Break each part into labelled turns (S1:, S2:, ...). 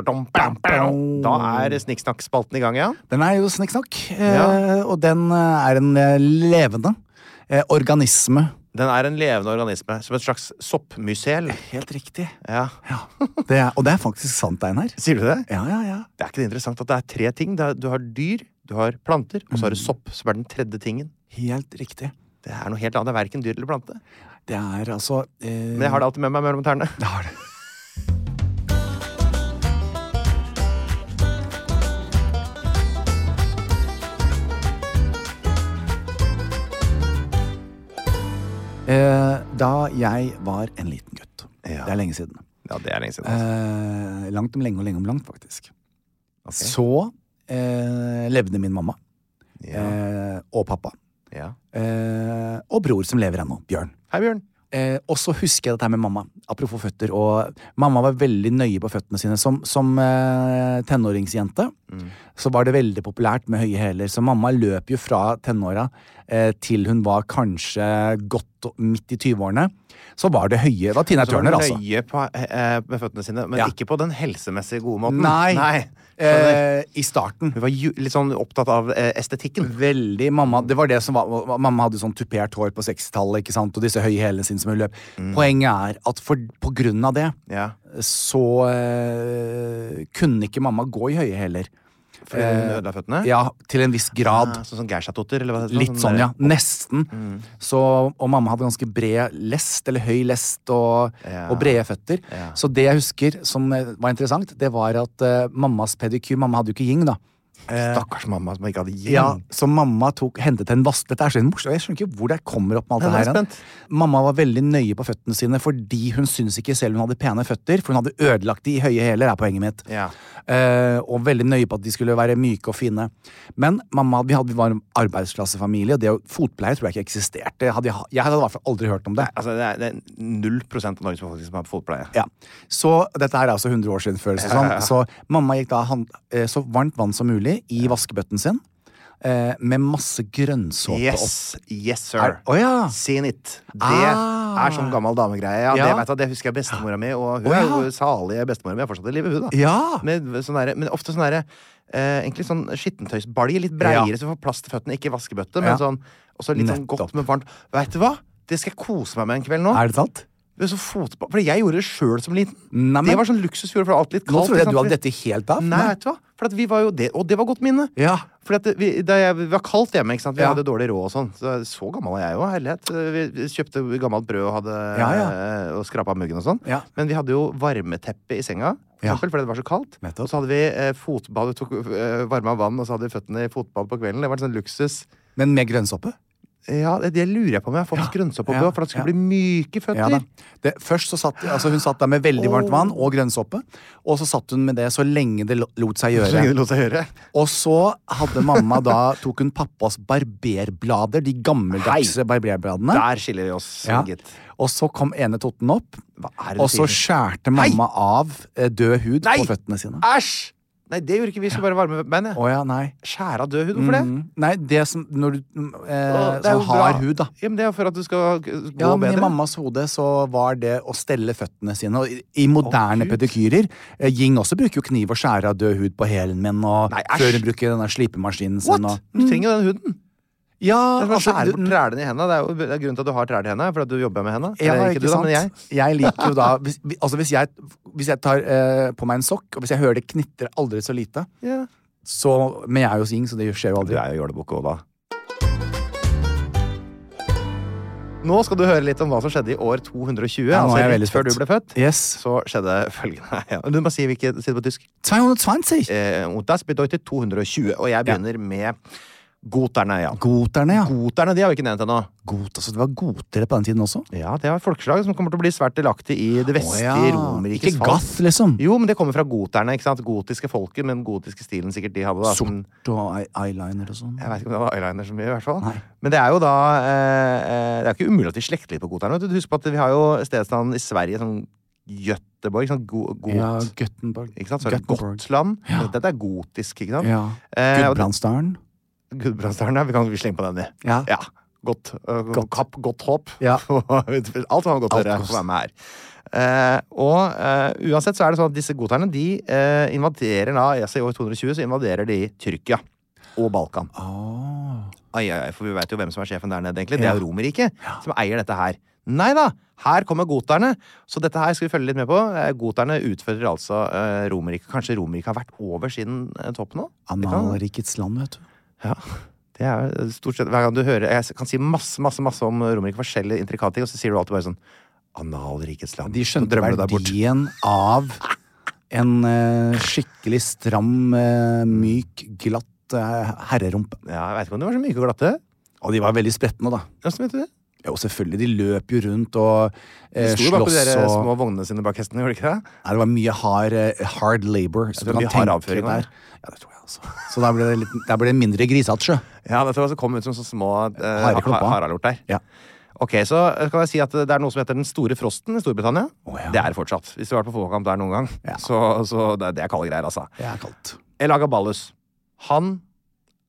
S1: Da er Snikksnakk-spalten i gang igjen.
S2: Den er jo snikksnakk,
S1: Ja.
S2: eh, og den eh, er en eh, levende eh, organisme.
S1: Den er en levende organisme, som et slags soppmysel.
S2: Helt riktig.
S1: Ja.
S2: Ja. Det er, og det er faktisk sant, Einar.
S1: Sier du det?
S2: Ja, ja, ja.
S1: Det er ikke det interessant at det er tre ting. Det er, du har dyr, du har planter, og så
S2: Mm.
S1: har du sopp, som er den tredje tingen.
S2: Helt riktig.
S1: Det er noe helt annet. Det er verken dyr eller plante.
S2: Det er altså eh,
S1: Men jeg har det alltid med meg mellom tærne.
S2: det har det. Eh, Da jeg var en liten gutt.
S1: Ja.
S2: Det er lenge siden.
S1: Ja, det er lenge siden. altså.
S2: Eh, langt om lenge og lenge om langt, faktisk. Så eh, levde min mamma
S1: Ja.
S2: eh, og pappa.
S1: ja.
S2: Eh, og bror som lever ennå, Bjørn.
S1: Hei, Bjørn.
S2: Eh, og så husker jeg dette her med mamma. Apropos føtter. Og mamma var veldig nøye på føttene sine. Som, som eh, tenåringsjente
S1: Mm.
S2: så var det veldig populært med høye hæler. Så mamma løp jo fra tenåra eh, til hun var kanskje godt midt i 20-årene. Så var det høye. Det var Tina
S1: Så var du
S2: Turner, altså.
S1: nøye på, eh, med føttene sine, men
S2: Ja.
S1: ikke på den helsemessige gode måten.
S2: Nei.
S1: Skjønner.
S2: Eh, I starten.
S1: Hun var ju, litt sånn opptatt av eh, estetikken.
S2: Veldig. Mamma det var det som var, mamma hadde sånn tupert hår på 60-tallet ikke sant? og disse høye hælene sine som hun løp.
S1: Mm.
S2: Poenget er at for, på grunn av det
S1: Ja.
S2: så eh, kunne ikke mamma gå i høye hæler.
S1: Fordi hun ødela føttene?
S2: Eh, Ja, til en viss grad.
S1: Ah, sånn som Geirstatotter? eller hva heter det? Mm.
S2: Litt sånn,
S1: der-
S2: ja. Nesten. Så, og mamma hadde ganske bred lest, eller høy lest, og,
S1: Ja.
S2: og brede føtter.
S1: Ja.
S2: Så det jeg husker som eh, var interessant, det var at eh, mammas pedikyr Mamma hadde jo ikke yin, da.
S1: eh, Stakkars mamma som ikke hadde gjeng.
S2: Ja, så mamma tok, hentet en vask. Dette er så morsomt. Jeg skjønner ikke hvor det kommer opp med alt
S1: Ja,
S2: det
S1: nå er
S2: her.
S1: jeg
S2: hen. Mamma var veldig nøye på føttene sine fordi hun syntes ikke selv hun hadde pene føtter, for hun hadde ødelagt de i høye hæler, er poenget mitt.
S1: Ja.
S2: Eh, og veldig nøye på at de skulle være myke og fine. Men mamma, vi, hadde, vi var en arbeidsklassefamilie, og det å fotpleie tror jeg ikke eksisterte. Hadde jeg, ha- jeg hadde i hvert fall aldri hørt om det.
S1: Altså, det er, det er 0 av Norges befolkning som har fotpleie.
S2: Ja. Så dette er altså 100 år siden før. Så, sånn. så mamma gikk da hand, eh, så varmt vann som mulig i vaskebøtten sin. eh, Med masse grønnsåpe opp.
S1: Yes, yes, sir.
S2: Er, å ja.
S1: Seen it. Det
S2: Ah.
S1: er sånn gammel damegreie. Ja, Det,
S2: Ja. Ah.
S1: vet du, det husker jeg bestemora mi, og hun
S2: Å,
S1: er
S2: ja.
S1: jo salige bestemora mi. er fortsatt i live, hun, da.
S2: Ja.
S1: Med sånn derre- men ofte sånn derre eh, Egentlig sånn skittentøysbalje. Litt breiere,
S2: Ja.
S1: så du får plass til føttene. Ikke vaskebøtte,
S2: Ja.
S1: men sånn Og så litt sånn
S2: Nettopp.
S1: godt, men varmt. Veit du hva? Det skal jeg kose meg med en kveld nå.
S2: Er det sant?
S1: Det er så fotball, fordi jeg gjorde det sjøl som liten.
S2: Nei, men-
S1: det var sånn luksusfjord, for det var alltid litt
S2: Nå
S1: kaldt.
S2: trodde
S1: ikke
S2: jeg du
S1: sant?
S2: hadde dette helt av.
S1: Nei, vet du hva? For at vi var jo det, og det var godt minne.
S2: Ja.
S1: Fordi at vi, da jeg, vi var kaldt hjemme, ikke sant? vi
S2: Ja.
S1: hadde dårlig råd og sånn. Så, så gammel er jeg jo, herlighet. Vi, vi kjøpte gammelt brød og, hadde,
S2: Ja, ja.
S1: eh, og skrapa muggen og sånn.
S2: Ja.
S1: Men vi hadde jo varmeteppe i senga, for
S2: Ja.
S1: eksempel, fordi det var så kaldt.
S2: Nettopp.
S1: Og så hadde vi eh, fotbad, vi tok eh, varma vann, og så hadde vi føttene i fotbad på kvelden. Det var en sånn luksus.
S2: Men med grønnsåpe?
S1: Ja, det, det lurer jeg på om jeg har fått grønnsåpe
S2: ja,
S1: på, for at det skal
S2: ja.
S1: bli myke føtter.
S2: Ja da. Det, først så satt altså hun satt der med veldig varmt vann og grønnsoppe, og så satt hun med det så lenge det lo- lot seg
S1: Så lenge det
S2: gjøre.
S1: lot seg gjøre.
S2: Og så hadde mamma da tok hun pappas barberblader, de gammeldagse barberbladene.
S1: Der skiller vi oss,
S2: Ja.
S1: gitt.
S2: Og så kom ene totten opp,
S1: Hva er det du
S2: og så
S1: sier?
S2: skjærte mamma av eh, død hud
S1: Nei!
S2: på føttene sine.
S1: Æsj! Nei, det gjorde ikke vi. Vi skulle bare varme bein, jeg.
S2: Å ja, nei.
S1: Skjære av død hud. Hvorfor det?
S2: Mm. Nei, det som Når du mm, eh,
S1: Å, det er
S2: Sånn
S1: jo bra.
S2: hard hud, da.
S1: Ja, men Det er for at du skal gå
S2: Ja, men
S1: bedre.
S2: I mammas hode så var det å stelle føttene sine. Og i, i
S1: Å,
S2: moderne
S1: Gud.
S2: pedikyrer eh, Ying også bruker jo kniv og skjærer av død hud på hælen min. Og
S1: Nei, æsj.
S2: før hun bruker denne slipemaskinen
S1: What?
S2: sin. Og,
S1: Du trenger jo den huden.
S2: ja,
S1: Det er, altså,
S2: altså,
S1: skjære
S2: du-
S1: bort trælene i hendene. Det er jo det er grunnen til at du har trær i hendene. For at du jobber med hendene.
S2: Ja,
S1: Eller
S2: Eh, ikke
S1: du, da,
S2: sant?
S1: men jeg.
S2: jeg. liker jo da Hvis, vi- altså hvis, jeg, hvis jeg tar eh, på meg en sokk, og hvis jeg hører det knitrer aldri så lite
S1: Ja.
S2: så, Men jeg er jo sing, så det skjer jo
S1: Du
S2: aldri.
S1: er jo jålebukk òg, da. Nå skal du høre litt om hva som skjedde i år 220.
S2: Ja, nå
S1: altså
S2: er jeg
S1: rett
S2: veldig
S1: før du
S2: spent.
S1: ble født.
S2: Yes.
S1: Så skjedde følgende ja. Du må si hvilket si det på tysk.
S2: 220!
S1: Eh, und das bedeutet 220. Og jeg begynner med goterne. ja.
S2: Goterne, ja.
S1: Goterne de har vi ikke nevnt ennå.
S2: Godt, altså, det var gotere på den tiden også.
S1: Ja, det er et folkeslag som kommer til å bli svært delaktig i det
S2: Å,
S1: vestlige Romerrikes
S2: Ikke gath, liksom.
S1: Jo, men det kommer fra goterne. ikke sant? Gotiske folket, men gotiske stilen sikkert de hadde. da. Som,
S2: Sort og eye- eyeliner og sånn.
S1: jeg vet ikke om de hadde eyeliner så mye, i hvert fall.
S2: Nei.
S1: Men det er jo da eh, eh, Det er ikke umulig at vi slekter litt på goterne. vet du. Husk på at vi har jo stedsnavn i Sverige som Göteborg. Ikke sant? Go got,
S2: Ja, Guttenborg.
S1: ikke sant? Så er det Gotland. Dette er gotisk, ikke sant?
S2: Ja.
S1: Eh, og det-
S2: Gudbrandsdalen.
S1: Gudbrandsdalen, ja. Vi kan vi slenge på den, vi.
S2: Ja.
S1: Ja. Godt, øh, Kapp, godt håp.
S2: Ja.
S1: Alt var godt å
S2: Alt
S1: høre.
S2: godt.
S1: Få være med her. Eh, og eh, uansett så er det sånn at disse goterne de eh, invaderer da altså I år 220 så invaderer de Tyrkia og Balkan.
S2: Ah.
S1: Ai, ai, ai, for vi veit jo hvem som er sjefen der nede, egentlig. Det
S2: Ja.
S1: er jo Romerriket som eier dette her. Nei da! Her kommer goterne. Så dette her skal vi følge litt med på. Eh, Goterne utfører altså eh, Romerriket. Kanskje Romerriket har vært over siden eh, toppen nå? Det kan-
S2: Analrikets land, vet du.
S1: ja. Det er jo stort sett Hver gang du hører Jeg kan si masse masse, masse om Romerike, forskjellige intrikate ting, og så sier du alltid bare sånn Analrikets land.
S2: De
S1: Så
S2: skjønte
S1: drømmer du deg bort.
S2: verdien av en eh, skikkelig stram, eh, myk, glatt eh, herrerumpe.
S1: Ja, jeg veit ikke om de var så myke og glatte.
S2: Og de var veldig spretne, da.
S1: Hvordan vet du det?
S2: Jo, selvfølgelig. De løp jo rundt og
S1: De
S2: eh,
S1: sto jo bak på de
S2: slåss
S1: der
S2: og
S1: små vognene sine bak hestene, gjorde de ikke det?
S2: Nei, det var mye hard, eh, hard labor. Så
S1: Det
S2: du
S1: var
S2: kan
S1: mye hard
S2: tenke
S1: avføring,
S2: der. Ja, det tror jeg altså. Så der ble det, litt, der ble det mindre grisete sjø.
S1: Ja, dette var så kom ut som sånne små eh,
S2: Harde
S1: ha-
S2: klumper.
S1: haralort der.
S2: Ja.
S1: Ok, så eh, kan jeg si at det er noe som heter den store frosten i Storbritannia.
S2: Å, ja.
S1: Det er det fortsatt. Hvis du har vært på fotballkamp der noen gang.
S2: Ja.
S1: Så, så det, det er kalde greier, altså.
S2: Det er kaldt.
S1: Elagabalus. Han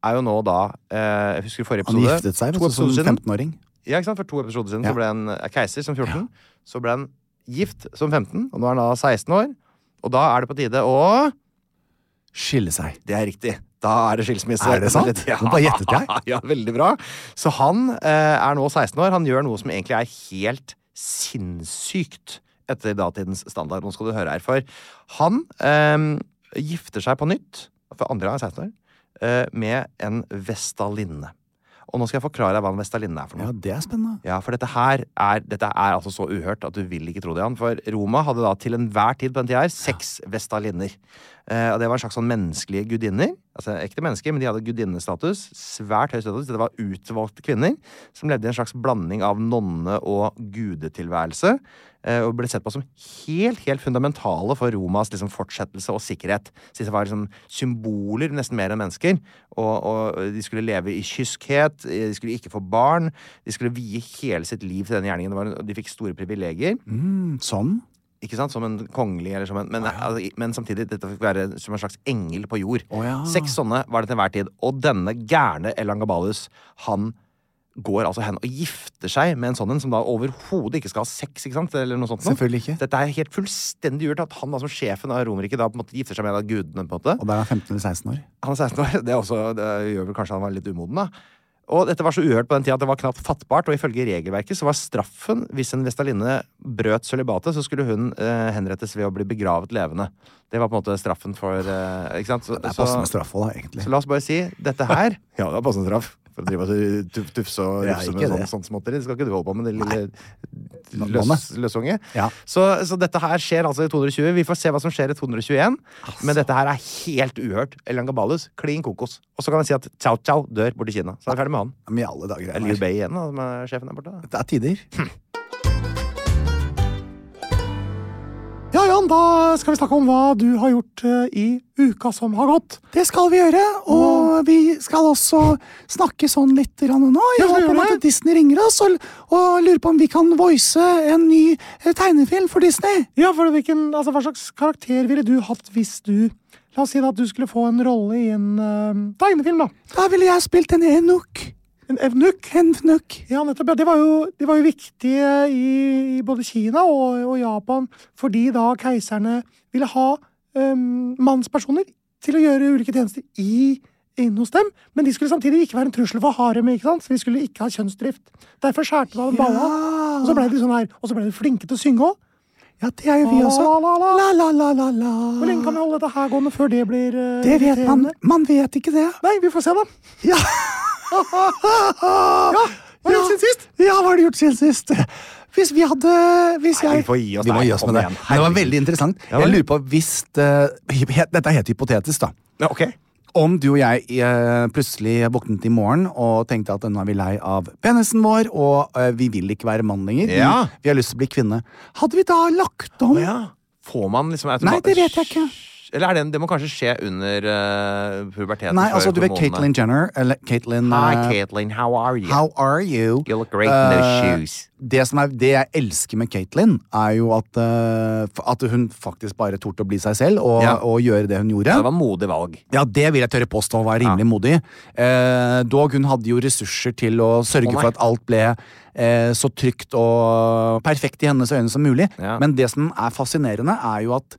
S1: er jo nå da eh, Jeg husker forrige
S2: Han
S1: episode.
S2: giftet seg sånn
S1: to
S2: vet du, som
S1: episoder siden.
S2: 15-åring.
S1: Ja, ikke sant? For to episoder siden
S2: Ja.
S1: så ble han eh, keiser som 14. Så ble han gift som 15, og nå er han da 16 år. Og da er det på tide å
S2: Skille seg.
S1: Det er riktig. Da er det skilsmisse.
S2: Er det sant?
S1: Ja.
S2: Nå bare gjettet jeg.
S1: Ja, veldig bra. Så han eh, er nå 16 år. Han gjør noe som egentlig er helt sinnssykt etter datidens standard. Nå skal du høre her. For han eh, gifter seg på nytt, for andre gang er 16 år, eh, med en vestalinne. Og nå skal jeg forklare deg hva en vestalinne er for noe.
S2: Ja, det er spennende.
S1: Ja, for dette her er, dette er altså så uhørt at du vil ikke tro det, Jan. For Roma hadde da til enhver tid på den tida her seks vestalinner. Eh, og det var en slags sånn menneskelige gudinner. Altså ekte mennesker, men de hadde gudinnestatus. Svært høy status. Dette var utvalgte kvinner som levde i en slags blanding av nonne- og gudetilværelse. eh, og ble sett på som helt, helt fundamentale for Romas liksom, fortsettelse og sikkerhet. Så disse var liksom symboler nesten mer enn mennesker. Og, og de skulle leve i kyskhet, eh, de skulle ikke få barn. De skulle vie hele sitt liv til denne gjerningen. Det var, en- de fikk store privilegier.
S2: Mm, sånn.
S1: Ikke sant? Som en kongelig eller som en Men, altså, i- men samtidig, dette fikk være som en slags engel på jord.
S2: Å ja.
S1: Seks sånne var det til enhver tid. Og denne gærne Elangabalus, han går altså hen og gifter seg med en sånn en som da overhodet ikke skal ha sex, ikke sant? Eller noe sånt. noe.
S2: Selvfølgelig ikke.
S1: Dette er helt fullstendig urt at han da som sjefen av Romerriket da på en måte gifter seg med en av gudene, på en måte.
S2: Og der er han 15 eller 16 år.
S1: Han er 16 år. Det, er også, det gjør vel kanskje han var litt umoden, da. Og dette var så uhørt på den tida at det var knapt fattbart, og ifølge regelverket så var straffen hvis en vestalinne brøt sølibatet, så skulle hun eh, henrettes ved å bli begravet levende. Det var på en måte straffen for eh, Ikke sant? Så,
S2: Det er
S1: så,
S2: passende straff òg, da, egentlig.
S1: så la oss bare si dette her Ja, det er passende straff. For å drive og tuf, tufse og
S2: Det er
S1: rufse
S2: ikke
S1: med sånn,
S2: det.
S1: sånn småtteri. Det skal ikke du holde på med, det lille
S2: Nå-
S1: løs,
S2: nå-
S1: løsunge.
S2: Ja.
S1: Så, så dette her skjer altså i 220. Vi får se hva som skjer i 221. Men dette her er helt uhørt. Elian Gabalus, klin kokos. Og så kan jeg si at Chao Chao dør borti Kina. Så er vi ferdig med han.
S2: Men i alle dager
S1: Det er
S2: er
S1: Liu
S2: det
S1: Bei igjen, da, som er sjefen der borte. da.
S2: Det er tider.
S1: Ja, Jan, da skal vi snakke om hva du har gjort eh, i uka som har gått.
S2: Det skal vi gjøre, og vi skal også snakke sånn litt grann nå. Jeg
S1: skal vi
S2: håper om
S1: gjøre
S2: at Disney ringer oss og, og lurer på om vi kan voice en ny eh, tegnefilm for Disney.
S1: Ja, for hvilken, altså, Hva slags karakter ville du hatt hvis du La oss si da at du skulle få en rolle i en eh, tegnefilm. da.
S2: Da ville jeg spilt en enuk.
S1: En evnuk.
S2: Enfnuk.
S1: Ja, nettopp. Ja, det, var jo, det var jo viktige i, i både Kina og, og Japan, fordi da keiserne ville ha øhm, mannspersoner til å gjøre ulike tjenester i, inne hos dem. Men de skulle samtidig ikke være en trussel for haremet, ikke sant? så de skulle ikke ha kjønnsdrift. Derfor skjærte de av en balla,
S2: Ja.
S1: og så blei de sånn her. Og så blei de flinke til å synge òg.
S2: Ja, det er jo vi også.
S1: La, la, la.
S2: la, la, la, la.
S1: Hvor lenge kan vi holde dette her gående før det blir øh,
S2: Det vet man.
S1: irriterende?
S2: Man vet ikke det.
S1: Nei, vi får se, da.
S2: Ja. ja.
S1: hva har du gjort siden sist?
S2: Ja, hva har du gjort siden sist? Hvis vi hadde hvis
S1: Nei,
S2: jeg...
S1: vi får gi oss
S2: Vi må
S1: der.
S2: gi oss med
S1: Kom
S2: det.
S1: igjen.
S2: Men Det var veldig interessant.
S1: Ja,
S2: Jeg
S1: vel.
S2: lurer på hvis eh, hy- Dette er helt hypotetisk, da.
S1: ok.
S2: Om du og jeg eh, plutselig våknet i morgen og tenkte at nå er vi lei av penisen vår, og eh, vi vil ikke være mann lenger,
S1: Ja.
S2: vi, vi har lyst til å bli kvinne, hadde vi da lagt om?
S1: Å ja. Får man liksom automat-
S2: Nei, det vet jeg ikke.
S1: Eller er det, en- det må kanskje skje under eh, puberteten.
S2: Nei,
S1: før
S2: altså, du vet
S1: hormonene.
S2: Caitlyn Jenner eller Caitlyn
S1: Hi,
S2: eh,
S1: Caitlyn. How are you?
S2: How are you?
S1: You look great in those
S2: Eh,
S1: shoes.
S2: Det, som er, det jeg elsker med Caitlyn, er jo at, eh, f- at hun faktisk bare torde å bli seg selv og,
S1: Ja.
S2: og gjøre det hun gjorde.
S1: Det var modig valg.
S2: Ja, det vil jeg tørre påstå var rimelig modig. Eh, dog, hun hadde jo ressurser til å sørge
S1: Å, nei.
S2: for at alt ble eh, så trygt og perfekt i hennes øyne som mulig.
S1: Ja.
S2: Men det som er fascinerende, er jo at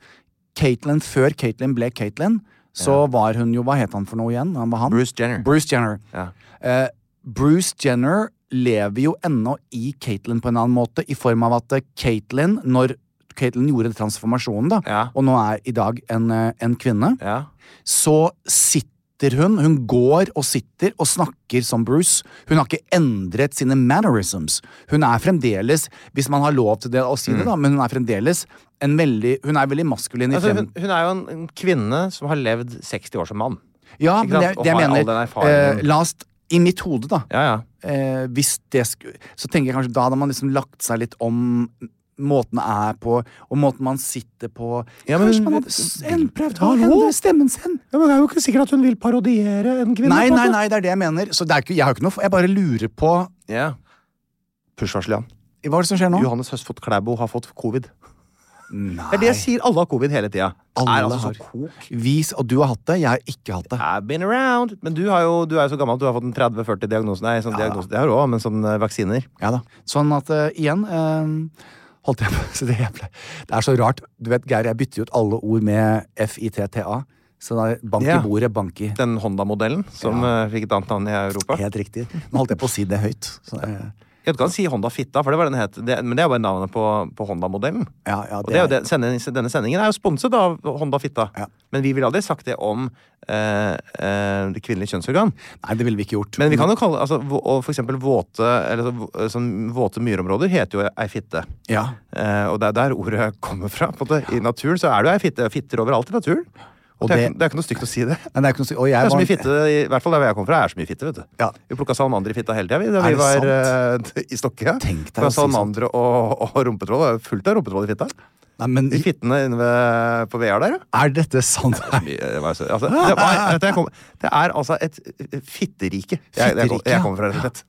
S2: Caitlyn, før Caitlyn ble Caitlyn, så var hun jo Hva het han for noe igjen? Han var han?
S1: Bruce Jenner.
S2: Bruce Jenner.
S1: Ja.
S2: Eh, Bruce Jenner lever jo ennå i Caitlyn på en annen måte, i form av at eh, Caitlyn, når Caitlyn gjorde transformasjonen, da,
S1: Ja.
S2: og nå er i dag en, eh, en kvinne,
S1: Ja.
S2: så sitter hun Hun går og sitter og snakker som Bruce. Hun har ikke endret sine mannerisms. Hun er fremdeles, hvis man har lov til det å si
S1: Mm.
S2: det, da, men hun er fremdeles en veldig Hun er veldig maskulin i
S1: Altså,
S2: frem...
S1: hun, hun er jo en, en kvinne som har levd 60 år som mann.
S2: Ja,
S1: ikke
S2: men det,
S1: sant? Og
S2: det jeg
S1: har all
S2: mener
S1: den erfaringen.
S2: eh, La oss I mitt hode, da.
S1: Ja, ja.
S2: Eh, hvis det sku, Så tenker jeg kanskje da hadde man liksom lagt seg litt om måten det er på, og måten man sitter på.
S1: Ja, men-
S2: kanskje man hadde s- en- prøvd å
S1: Hallo?
S2: endre stemmen sin?
S1: men Det er jo ikke sikkert at hun vil parodiere en kvinne.
S2: Nei, nei, nei, det er det jeg mener. Så det er ikke, jeg har ikke noe f- Jeg bare lurer på
S1: Ja. Push-varsel, Jan.
S2: Hva er det som skjer nå?
S1: Johannes Høstfot Klæbo har fått covid. Det
S2: Nei.
S1: er det jeg sier. Alle har covid hele tida.
S2: Alle
S1: er altså
S2: har.
S1: så kok.
S2: Vis, og du har hatt det, jeg har ikke hatt det.
S1: I've been around. Men du, har jo, du er jo så gammel at du har fått en 30-40 diagnose. Nei, sånn diagnose. Det har du òg, men sånn eh, vaksiner.
S2: Ja da. Sånn at eh, igjen eh, Holdt jeg på så det, jeg ble, det er så rart. Du vet, Geir, jeg bytter jo ut alle ord med FITTA. Så da bank
S1: Ja.
S2: i bordet, bank i
S1: Den Honda-modellen som eh, fikk et annet navn i Europa.
S2: Helt riktig. Nå holdt jeg på å si det høyt. Så, eh,
S1: Ja, du kan si Honda Fitta, for det var den het. Det, men det er bare navnet på, på Honda-modellen.
S2: ja, ja,
S1: Og
S2: det
S1: det er jo
S2: er-
S1: det, senden, denne sendingen er jo sponset av Honda Fitta.
S2: Ja.
S1: Men vi ville aldri sagt det om eh, eh, det kvinnelige kjønnsorgan.
S2: Nei, det ville vi ikke gjort.
S1: Men vi kan jo kalle altså, vå- og for eksempel våte, eller, så- vå- sånn, våte myrområder heter jo ei fitte.
S2: ja.
S1: Eh, og det er der ordet kommer fra. På en måte. I naturen så er det jo ei fitte. Fitter overalt i naturen. Og
S2: Og
S1: det, er,
S2: det-
S1: ikke- det er ikke noe stygt å si det.
S2: Nei, det er ikke noe å si. Og
S1: Det
S2: jeg
S1: er så
S2: var
S1: mye fitte, i hvert fall der hvor jeg kommer fra, er det så mye fitte, vet du.
S2: Ja.
S1: Vi plukka salmander i fitta hele tida, vi, da
S2: Er
S1: vi
S2: det
S1: var eh, i Stokke.
S2: Tenk deg
S1: Det var
S2: å si sånt.
S1: Salamandere og, og rumpetroll. Det var fullt av rumpetroll i fitta.
S2: Nei, men
S1: De fittene inne ved, på VR der, ja.
S2: er dette sant?
S1: Vi- det var så- Altså, det, var, vet du, jeg kom, det er altså et eh, fitterike jeg, jeg, kom-
S2: Fitterike, ja.
S1: jeg kommer fra, rett og slett.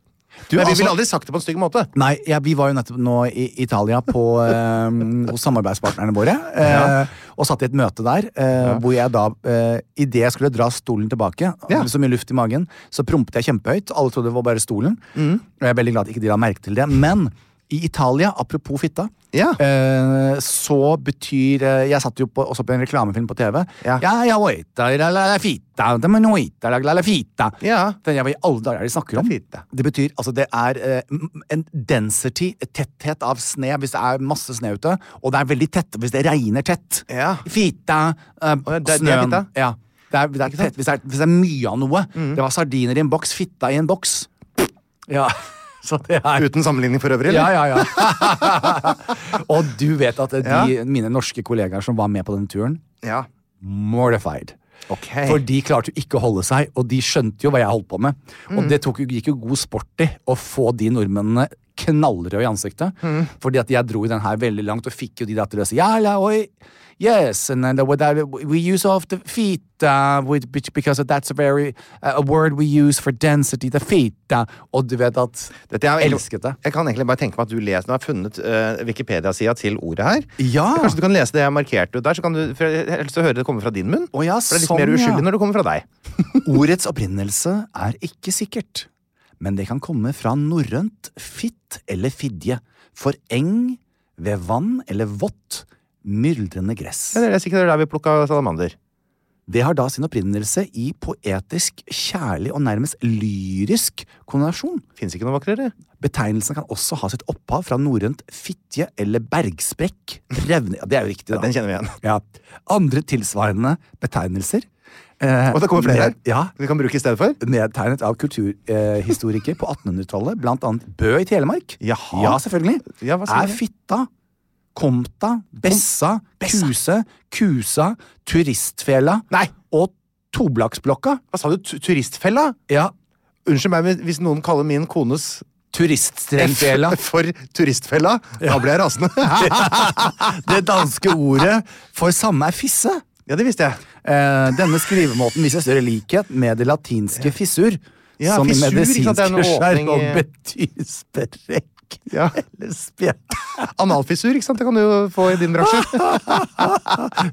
S2: Du,
S1: Men vi
S2: altså-
S1: ville aldri sagt det på en stygg måte.
S2: Nei, ja, vi var jo nettopp nå i Italia på, eh, hos samarbeidspartnerne våre. Eh, Og satt i et møte der, eh, hvor jeg da eh, Idet jeg skulle dra stolen tilbake,
S1: Ja.
S2: hadde så mye luft i magen, så prompet jeg kjempehøyt. Alle trodde det var bare stolen.
S1: Mm.
S2: Og jeg er veldig glad at ikke de la merke til det. Men i Italia, apropos fitta,
S1: Ja.
S2: eh, så betyr eh, Jeg satt jo på, også på en reklamefilm på TV.
S1: Ja.
S2: ja, ja, oita, la, la, la, fita, de er noita, la, la, la, fita.
S1: Ja.
S2: Den jeg var i alle dager er det de snakker om.
S1: Fint, da.
S2: Det betyr altså det er eh, m- en density, et tetthet av sne hvis det er masse sne ute, og det er veldig tett hvis det regner tett.
S1: Ja.
S2: Fita,
S1: ja,
S2: eh,
S1: det- det er
S2: snøen.
S1: fitta?
S2: Ja. Det er, det er tett, hvis, det er, hvis det er mye av noe.
S1: Mm.
S2: Det var sardiner i en boks, fitta i en boks. Ja, så det er
S1: Eh, Uten sammenligning for øvrig?
S2: Ja,
S1: eller?
S2: ja, ja. og du vet at de,
S1: Ja.
S2: mine norske kollegaer som var med på den turen,
S1: ja.
S2: mortified.
S1: Ok.
S2: For de klarte jo ikke å holde seg, og de skjønte jo hva jeg holdt på med.
S1: Mm.
S2: Og det tok, jo- gikk jo god sport i å få de nordmennene knallrøde i ansiktet.
S1: Mm.
S2: Fordi at jeg dro i den her veldig langt og fikk jo de der til å si ja, la, oi, yes, and then the, what that- we use off the feet uh, with, because that's a very uh, a word we use for density, the feet. uh." Og du vet at
S1: Dette er, jo-
S2: Elsket det.
S1: Jeg kan egentlig bare tenke meg at du leser, nå har jeg funnet eh, Wikipedia-sida til ordet her.
S2: Ja.
S1: Kanskje du kan lese det jeg har markert ut der, så kan du for jeg har lyst til å høre det komme fra din munn.
S2: Å ja,
S1: for det er litt
S2: sånn,
S1: mer
S2: ja.
S1: uskyldig når det kommer fra deg.
S2: Ordets opprinnelse er ikke sikkert, men det kan komme fra norrønt fitt eller fidje, for eng ved vann eller vått, myldrende gress.
S1: Ja, det er sikkert det er der vi plukka salamander.
S2: Det har da sin opprinnelse i poetisk, kjærlig og nærmest lyrisk konnasjon.
S1: Fins ikke noe vakrere.
S2: Betegnelsen kan også ha sitt opphav fra norrønt fitje eller bergsprekk, revne Ja, det er jo riktig, da.
S1: Ja, den kjenner vi igjen.
S2: Ja. Andre tilsvarende betegnelser. eh,
S1: Og det kommer flere her.
S2: Ja,
S1: Vi kan bruke i stedet for.
S2: nedtegnet av kulturhistorikere på 1800-tallet, blant annet Bø i Telemark.
S1: Jaha.
S2: Ja, selvfølgelig.
S1: Ja, hva sier
S2: er
S1: det?
S2: fitta, komta, bessa, kuse, kusa, turistfela
S1: Nei.
S2: og toblaksblokka.
S1: Hva sa du? Tu- Turistfella?
S2: Ja,
S1: Unnskyld meg men hvis noen kaller min kones
S2: turiststrengfela.
S1: for turistfella. Da ble jeg rasende.
S2: Det danske ordet for samme er fisse.
S1: ja, det visste jeg.
S2: Eh, denne skrivemåten viser større likhet med det latinske fissur,
S1: Ja,
S2: som
S1: fissur,
S2: i
S1: ikke sant, det er en
S2: medisinske
S1: åpning
S2: skjerm
S1: i-
S2: betyr sprekk
S1: Ja.
S2: eller spjett.
S1: Analfissur, ikke sant? Det kan du jo få i din bransje.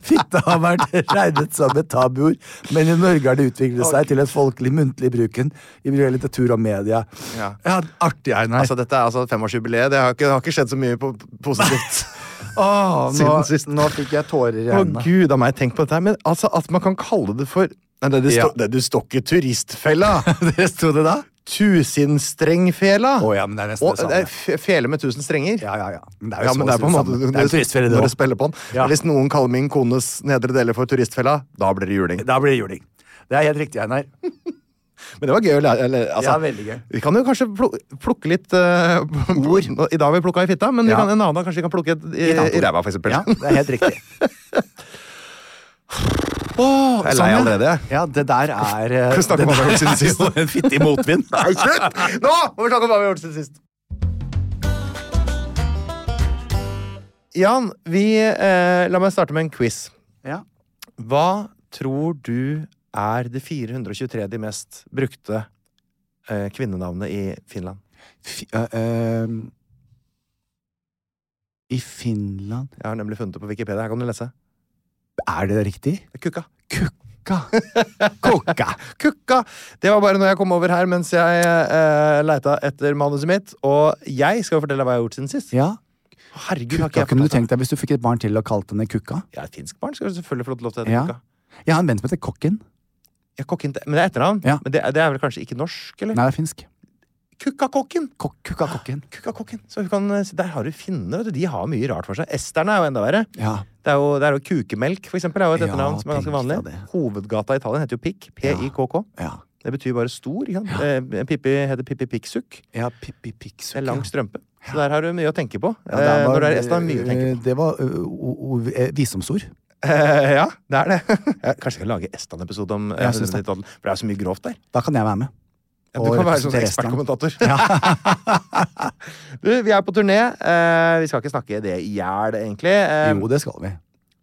S2: Fitte har vært regnet som et tabuord, men i Norge har det utviklet seg til en folkelig muntlig bruken i litteratur og media.
S1: Ja.
S2: Artig, Einar.
S1: altså, dette er altså femårsjubileet. Det har ikke, det har ikke skjedd så mye på, positivt.
S2: Åh, nå,
S1: siden sist.
S2: nå fikk jeg tårer i
S1: Å,
S2: øynene.
S1: gud a meg, tenk på dette her. Men altså, at man kan kalle det for Nei, det, det,
S2: Ja.
S1: står- det, du står ikke turistfella.
S2: Dere sto det da?
S1: Tusenstrengfela.
S2: Å ja, men det er nesten
S1: Og-
S2: det samme.
S1: er f- fele med tusen strenger.
S2: Ja, ja, ja. Men det er jo
S1: Ja,
S2: så
S1: men
S2: å
S1: det er
S2: si
S1: på en måte
S2: samme. Det er jo turistfelle, det
S1: når du
S2: også.
S1: spiller på den.
S2: Ja.
S1: Hvis noen kaller min kones nedre deler for turistfella, da blir det juling.
S2: Da blir det juling. Det er helt riktig, Einar.
S1: Men det var gøy å lære. Eller, altså,
S2: Ja, veldig gøy.
S1: Vi kan jo kanskje plu- plukke litt eh, ord. I dag har vi plukka i fitta, men vi
S2: Ja.
S1: kan, en annen dag kanskje vi kan plukke et, i,
S2: I et annet
S1: i
S2: ord.
S1: ræva, for eksempel.
S2: Ja, det er helt riktig. Åh,
S1: Jeg er lei
S2: sånn, ja.
S1: allerede, jeg.
S2: Ja, det der er eh,
S1: Skal vi snakke om
S2: det
S1: hva vi har
S2: der
S1: gjort siden
S2: er
S1: sist?
S2: jo En fittig motvind.
S1: Nei, slutt! Nå må vi snakke om hva vi har gjort siden sist. Jan, vi, eh, la meg starte med en quiz.
S2: Ja.
S1: Hva tror du er det 423. de mest brukte eh, kvinnenavnet i Finland?
S2: Fi- eh, ehm, I Finland
S1: Jeg har nemlig funnet det på Wikipedia. Her kan du lese.
S2: Er det riktig?
S1: Det er Kukka.
S2: Kukka. Kukka.
S1: Kukka! Det var bare når jeg kom over her mens jeg eh, leita etter manuset mitt. Og jeg skal jo fortelle deg hva jeg har gjort siden sist.
S2: Ja.
S1: Herregud, har ikke
S2: Kukka
S1: jeg
S2: kunne du
S1: fortalt deg.
S2: tenkt deg hvis du fikk et barn til og kalte henne Kukka.
S1: Jeg er et finsk barn, skal du selvfølgelig få lov til å hete
S2: Ja.
S1: Kukka.
S2: Jeg har en venn som heter Kokken.
S1: Ja, kokken, men det er etternavn?
S2: Ja.
S1: Men det, det er vel kanskje ikke norsk, eller?
S2: Nei, det er finsk.
S1: Kukkakokken!
S2: Kok Kukka Kokken.
S1: Kukkakokken. Så hun kan, se, der har du finner, vet du. De har mye rart for seg. Esterne er jo enda verre.
S2: Ja.
S1: Det er jo, det er jo kukemelk, for eksempel. Er jo et
S2: Ja,
S1: etternavn som er ganske
S2: tenk
S1: vanlig.
S2: deg det.
S1: Hovedgata i Italia heter jo Pikk. P-i-k-k.
S2: Ja.
S1: Det betyr bare stor. Ikke sant? Eh, Pippi heter Pippi Pikksuk.
S2: ja Pippi Piksuk.
S1: Det er lang
S2: ja.
S1: strømpe. Så der har du mye å tenke på.
S2: Ja, det
S1: eh,
S2: var-
S1: når det er Estland, mye å tenke på.
S2: eh, Det var eh, o- o- eh, visdomsord.
S1: Eh, ja, det er det. Jeg kanskje jeg kan lage Estland-episode om eh,
S2: Jeg synes det.
S1: 190-tallet, for det er jo så mye grovt der.
S2: Da kan jeg være med.
S1: Ja, du
S2: Og
S1: kan være sånn
S2: representere Estland.
S1: ekspertkommentator. du, vi er på turné. Eh, vi skal ikke snakke det i hjel, egentlig. Eh,
S2: Jo, det skal vi.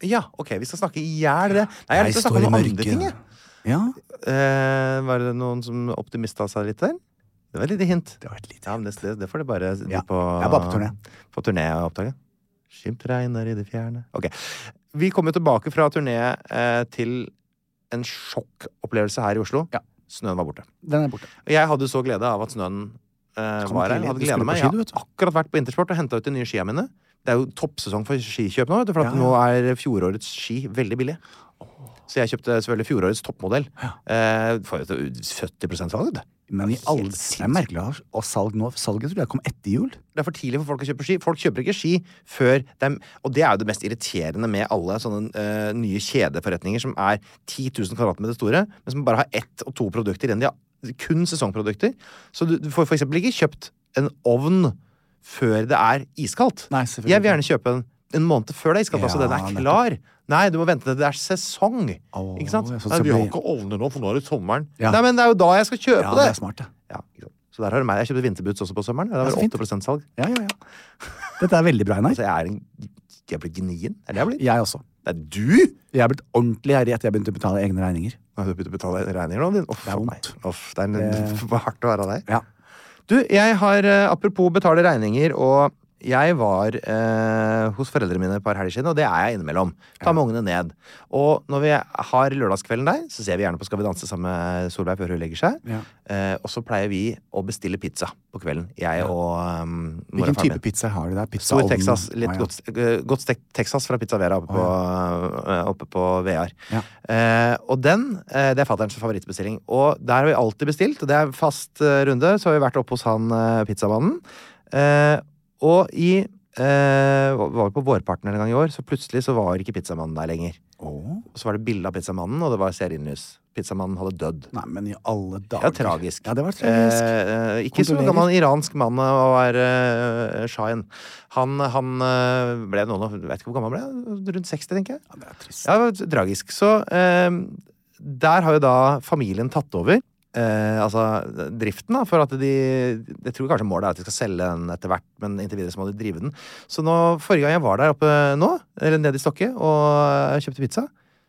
S1: Ja, ok, vi skal snakke i hjel det. Nei, jeg har
S2: Jeg
S1: lyst til å
S2: står
S1: snakke
S2: i
S1: om noen andre
S2: mørket.
S1: ting. jeg.
S2: Ja.
S1: Eh, var det noen som optimista seg litt der? Det var et lite hint.
S2: Det var et lite
S1: Ja, men det, det, det får det bare de
S2: Ja,
S1: på,
S2: jeg er bare på turné.
S1: på turné å oppdage. Skimt regner i det fjerne Ok. Vi kom jo tilbake fra turné eh, til en sjokkopplevelse her i Oslo.
S2: Ja.
S1: Snøen var borte.
S2: Den er borte.
S1: Og jeg hadde jo så glede av at snøen eh,
S2: Kom
S1: var her.
S2: til,
S1: Jeg Hadde
S2: du skulle
S1: gleda meg.
S2: på ski,
S1: Jeg
S2: du,
S1: har
S2: vet du.
S1: akkurat vært på Intersport og henta ut de nye skia mine. Det er jo toppsesong for skikjøp nå, vet du, for at
S2: Ja, ja.
S1: nå er fjorårets ski veldig billig. Så jeg kjøpte selvfølgelig fjorårets toppmodell. Eh, for 70 salg.
S2: Men i
S1: helt
S2: alle, det er merkelig å ha- å salg nå. Salget tror jeg kom etter jul.
S1: Det er for tidlig for folk å kjøpe ski. Folk kjøper ikke ski før de Og det er jo det mest irriterende med alle sånne eh, nye kjedeforretninger som er 10 000 kvadratmeter store, men som bare har ett og to produkter igjen. De har kun sesongprodukter. Så du, du får for eksempel ikke kjøpt en ovn før det er iskaldt.
S2: Nei, selvfølgelig
S1: Jeg vil gjerne kjøpe den en måned før det er iskaldt, altså
S2: Ja,
S1: den er
S2: nettopp.
S1: klar. Nei, du må vente til det er sesong.
S2: Åh,
S1: ikke sant?
S2: jeg synes
S1: Nei,
S2: det
S1: vi har
S2: blir-
S1: ikke ovner nå, for nå er det sommeren.
S2: Ja.
S1: Nei, men det er jo da jeg skal kjøpe
S2: Ja,
S1: det!
S2: det er smart, det.
S1: Ja, ikke sant. Så der har du meg. Jeg kjøpte vinterboots også på sommeren. og
S2: Ja,
S1: Det
S2: så
S1: var
S2: fint.
S1: 8 salg.
S2: Ja, ja, ja. Dette er veldig bra, Einar.
S1: Altså, jeg er en Jeg blir gnien. Er det jeg blir?
S2: Jeg også.
S1: Det er du!
S2: Jeg er blitt ordentlig gjerrig etter jeg begynte å betale egne regninger.
S1: Nå har du begynt å betale regninger nå, din. Uff,
S2: Det er vondt.
S1: nei. Uff, det er en,
S2: Det-
S1: var hardt å være deg.
S2: Ja.
S1: Du, jeg har eh, Apropos betale regninger og jeg var eh, hos foreldrene mine et par helger siden, og det er jeg innimellom. Ta med ungene ned. Og når vi har lørdagskvelden der, så ser vi gjerne på Skal vi danse sammen med Solveig før hun legger seg.
S2: Ja.
S1: Eh, og så pleier vi å bestille pizza på kvelden, jeg og um, mor og
S2: Hvilken
S1: faren
S2: type
S1: min.
S2: pizza har du der? Pizza
S1: Stor
S2: ovn?
S1: Texas. Litt
S2: Å, ja.
S1: godt, ste- eh, godt stekt Texas fra Pizza Vera oppe på, eh, oppe på VR.
S2: Ja.
S1: Eh, og den eh, Det er fatterns favorittbestilling. Og der har vi alltid bestilt, og det er fast eh, runde. Så har vi vært oppe hos han eh, pizzamannen. Eh, og i eh, Var på vårparten en gang i år, så plutselig så var ikke pizzamannen der lenger.
S2: Å,
S1: Og så var det bilde av pizzamannen, og det var stearinlys. Pizzamannen hadde dødd.
S2: Nei, men i alle dager.
S1: Ja, tragisk.
S2: Ja, det var tragisk.
S1: Eh, eh, ikke så
S2: Kondolerer.
S1: gammel iransk mann eh, og er eh, shine. Han, han eh, ble noen og Vet ikke hvor gammel han ble? Rundt 60, tenker jeg.
S2: Ja, det er trist.
S1: Ja, det var tragisk. Så eh, der har jo da familien tatt over. Eh, altså driften, da, for at de Jeg tror kanskje målet er at de skal selge den etter hvert, men inntil videre så må de drive den. Så nå, forrige gang jeg var der oppe nå, eller nede i Stokke, og eh, kjøpte pizza,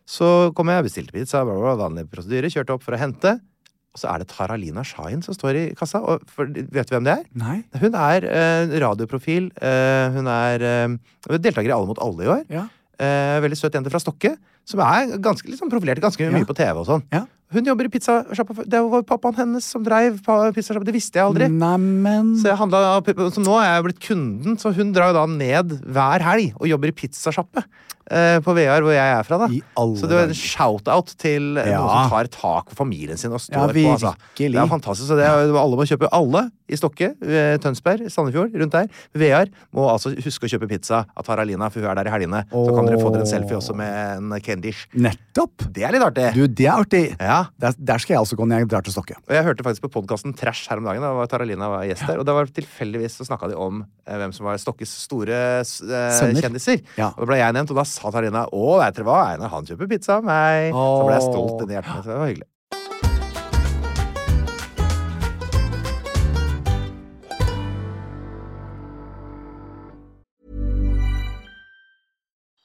S1: så kom jeg og bestilte pizza, bla, bla, bla, vanlig prosedyre, kjørte opp for å hente, og så er det Taralina Shahin som står i kassa, og for, vet du hvem det er?
S2: Nei.
S1: Hun er eh, radioprofil, eh, hun er eh, deltaker i Alle mot alle i år.
S2: Ja.
S1: Eh, veldig søt jente fra Stokke, som er ganske liksom, profilert ganske mye på TV og sånn.
S2: Ja.
S1: Hun jobber i pizzasjappa. før- Det var pappaen hennes som dreiv pa- pizzasjappa. Det visste jeg
S2: Mm.
S1: aldri.
S2: Neimen
S1: Så, jeg handla, av pi- så nå er jeg blitt kunden, så hun drar jo da ned hver helg og jobber i pizzasjappe eh, på VR, hvor jeg er fra. da
S2: I alle
S1: Så det var en
S2: dager.
S1: shout-out til eh,
S2: Ja.
S1: noen som tar tak for familien sin og
S2: Ja,
S1: står på. Altså. Det
S2: virkelig.
S1: er fantastisk. Så det er, alle må kjøpe. Alle i Stokke, eh, Tønsberg, Sandefjord, rundt der. VR må altså huske å kjøpe pizza av Taralina, for hun er der i helgene. Så kan dere få dere en selfie også med en candish.
S2: Nettopp!
S1: Det er litt artig.
S2: Du, det er artig!
S1: Ja.
S2: Der, der skal jeg også gå når jeg drar til Stokke.
S1: Og jeg hørte faktisk på podkasten Trash her om dagen. Da var Taralina var gjest der. Og da var tilfeldigvis så snakka de om eh, hvem som var Stokkes store eh,
S2: Sønner.
S1: kjendiser.
S2: Ja.
S1: Og da ble jeg nevnt, og da sa Taralina å, vet dere hva, Einar han kjøper pizza av meg. Så ble jeg stolt inni hjertet mitt. så Det var hyggelig.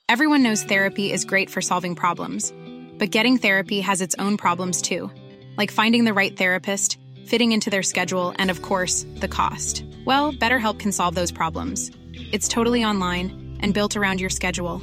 S3: Everyone knows therapy is great for solving problems, but getting therapy has its own problems too, like finding the right therapist, fitting into their schedule, and of course, the cost. Well, BetterHelp can solve those problems. It's totally online and built around your schedule.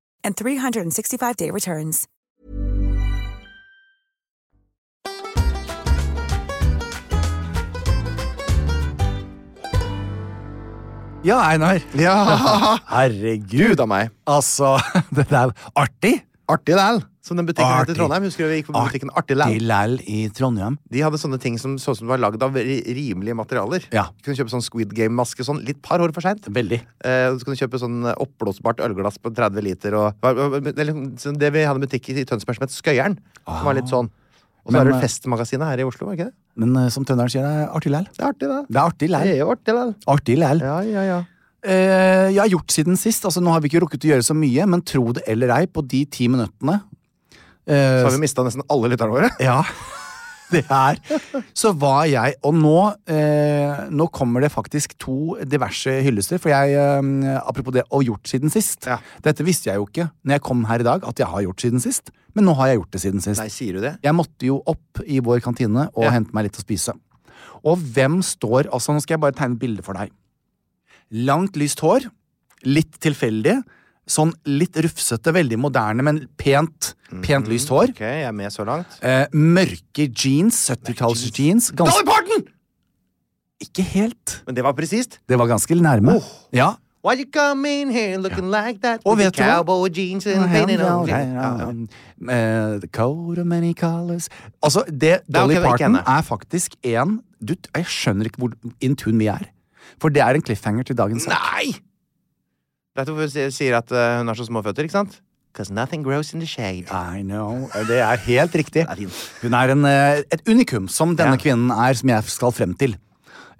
S4: and 365-day returns.
S2: Ja, Einar. Ah,
S1: Ja!
S2: Herregud.
S1: Gud av meg.
S2: Altså, det der Artig!
S1: Artig læl, som den butikken het i
S2: Artig.
S1: Trondheim. Husker du vi gikk på butikken Artig læl?
S2: Lal i Trondheim.
S1: De hadde sånne ting som så ut som det var lagd av ri- rimelige materialer.
S2: Ja.
S1: Du kunne kjøpe sånn Squid Game-maske sånn litt par år for seint.
S2: Veldig.
S1: Eh, og så kunne du kjøpe sånn eh, oppblåsbart ølglass på 30 liter og eller, sånn Det vi hadde i butikk i Tønsberg som het Skøyeren. Som var litt sånn. Og så
S2: Men,
S1: er det
S2: eh,
S1: Festmagasinet her i Oslo, var det ikke det?
S2: Men eh, som trønderen sier, det er artig lal.
S1: Det er artig, det.
S2: Det er artig
S1: Det
S2: lal.
S1: er jo artig, det.
S2: Artig lal.
S1: Ja, ja, ja.
S2: Eh, jeg har gjort siden sist. Altså, nå har vi ikke rukket å gjøre så mye, men tro det eller ei, på de ti minuttene
S1: Så
S2: eh,
S1: har vi mista nesten alle lytterne våre.
S2: Ja, det er Så var jeg Og nå, eh, nå kommer det faktisk to diverse hyllester. For jeg, eh, apropos det å gjort siden sist
S1: Ja.
S2: Dette visste jeg jo ikke når jeg kom her i dag, at jeg har gjort siden sist. Men nå har jeg gjort det siden sist.
S1: Nei, sier du det?
S2: Jeg måtte jo opp i vår kantine og
S1: Ja.
S2: hente meg litt å spise. Og hvem står Altså, nå skal jeg bare tegne et bilde for deg. Langt, lyst hår. Litt tilfeldig. Sånn litt rufsete, veldig moderne, men pent, pent lyst hår.
S1: Mhm, Ok, jeg er med så langt.
S2: Eh, mørke jeans, 70-talls jeans.
S1: Dolly
S2: Ganske,
S1: Parton!
S2: ikke helt.
S1: Men det var presist.
S2: Det var ganske nærme.
S1: Oh.
S2: Ja.
S1: Why you come in here looking like that
S2: Og
S1: with
S2: vet
S1: the
S2: du hva?
S1: cowboy jeans and painted on Ja, ja.
S2: Eh, The coat of many colors Altså, det
S1: er ok,
S2: Dolly
S1: det er ikke
S2: Parton
S1: henne.
S2: er faktisk en du, Jeg skjønner ikke hvor in tune vi er. For det er en cliffhanger til dagens sak.
S1: Nei! Vet du hvorfor hun sier- sier at eh, hun har så små føtter, ikke sant? Because nothing grows in the shade.
S2: I know. Det er helt riktig.
S1: er fin.
S2: Hun er en, eh, et unikum, som denne
S1: Ja.
S2: kvinnen er, som jeg skal frem til.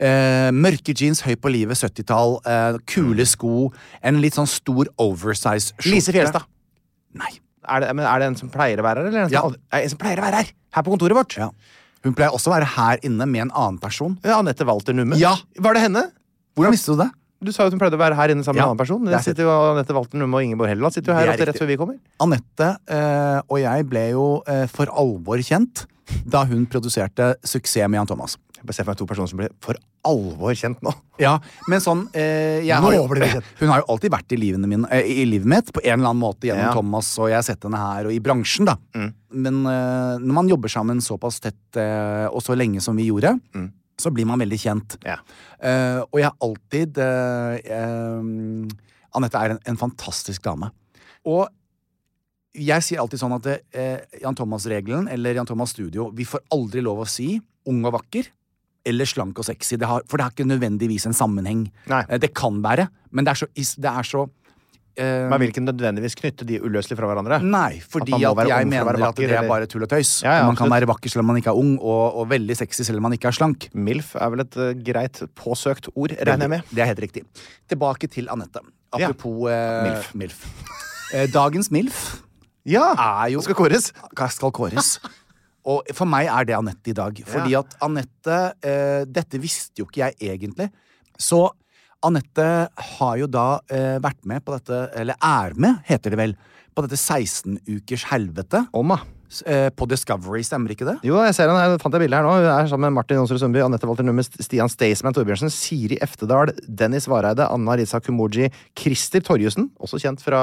S2: Eh, mørke jeans, høy på livet, 70-tall, eh, kule sko, en litt sånn stor oversize skjorte.
S1: Mm. Lise Fjelstad.
S2: Nei.
S1: Er det, men er det en som pleier å være her, eller? En som,
S2: Ja.
S1: Altså, aldri- Nei, en som pleier å være her! Her på kontoret vårt.
S2: Ja. Hun pleier også å være her inne med en annen person.
S1: Ja, Eh, Anette Walter Numme.
S2: Ja.
S1: Var det henne?
S2: Hvordan visste du det?
S1: Du sa jo at hun pleide å være her inne sammen med
S2: Ja,
S1: en annen person.
S2: det er
S1: Det sitter jo Anette Walter Numme og Ingeborg Helleland sitter jo her
S2: Det er
S1: ofte rett
S2: riktig.
S1: før vi kommer.
S2: Anette eh, og jeg ble jo eh, for alvor kjent da hun produserte suksess med Jan Thomas.
S1: Jeg bare ser for meg to personer som blir for alvor kjent nå.
S2: Ja, men sånn eh, jeg har
S1: Nå
S2: jo,
S1: blir vi kjent.
S2: Hun har jo alltid vært i, livene mine, eh, i livet mitt på en eller annen måte gjennom
S1: Ja. Mm.
S2: Thomas, og jeg har sett henne her og i bransjen, da. Men eh, når man jobber sammen såpass tett eh, og så lenge som vi gjorde, så blir man veldig kjent.
S1: Mm. Ja.
S2: Eh, og jeg har alltid eh, eh, Anette er en, en fantastisk dame. Og jeg sier alltid sånn at eh, Jan Thomas-regelen eller Jan Thomas Studio Vi får aldri lov å si ung og vakker eller slank og sexy. Det har, for det har ikke nødvendigvis en sammenheng.
S1: Nei.
S2: Eh, det kan være, men det er så, is- det er så eh,
S1: Man vil ikke nødvendigvis knytte de uløselig fra hverandre.
S2: Nei, fordi
S1: man må
S2: at,
S1: være
S2: jeg
S1: ung for å
S2: mener
S1: være
S2: at
S1: vakker,
S2: det er
S1: eller-
S2: bare tull og tøys.
S1: Ja, ja,
S2: man kan
S1: absolutt.
S2: være vakker selv om man ikke er ung, og, og veldig sexy selv om man ikke er slank.
S1: MILF er vel et eh, greit påsøkt ord, regner jeg med.
S2: Det er helt riktig. Tilbake til Anette.
S1: Ja.
S2: Apropos eh,
S1: Milf.
S2: Eh, Dagens MILF
S1: Ja!
S2: er jo
S1: Skal kåres.
S2: skal kåres. Og for meg er det Anette i dag. Fordi at Anette eh, Dette visste jo ikke jeg egentlig. Så Anette har jo da eh, vært med på dette, eller er med, heter det vel, på dette 16-ukers helvete
S1: Omma.
S2: s- eh, på Discovery, stemmer ikke det?
S1: Jo, jeg ser henne, jeg fant et bilde her nå. Hun er sammen med Martin Jonsrud Sundby, Anette Walter Numme, Stian Staysman Torbjørnsen, Siri Eftedal, Dennis Vareide, Anna Risa Kumoji, Christer Torjussen, også kjent fra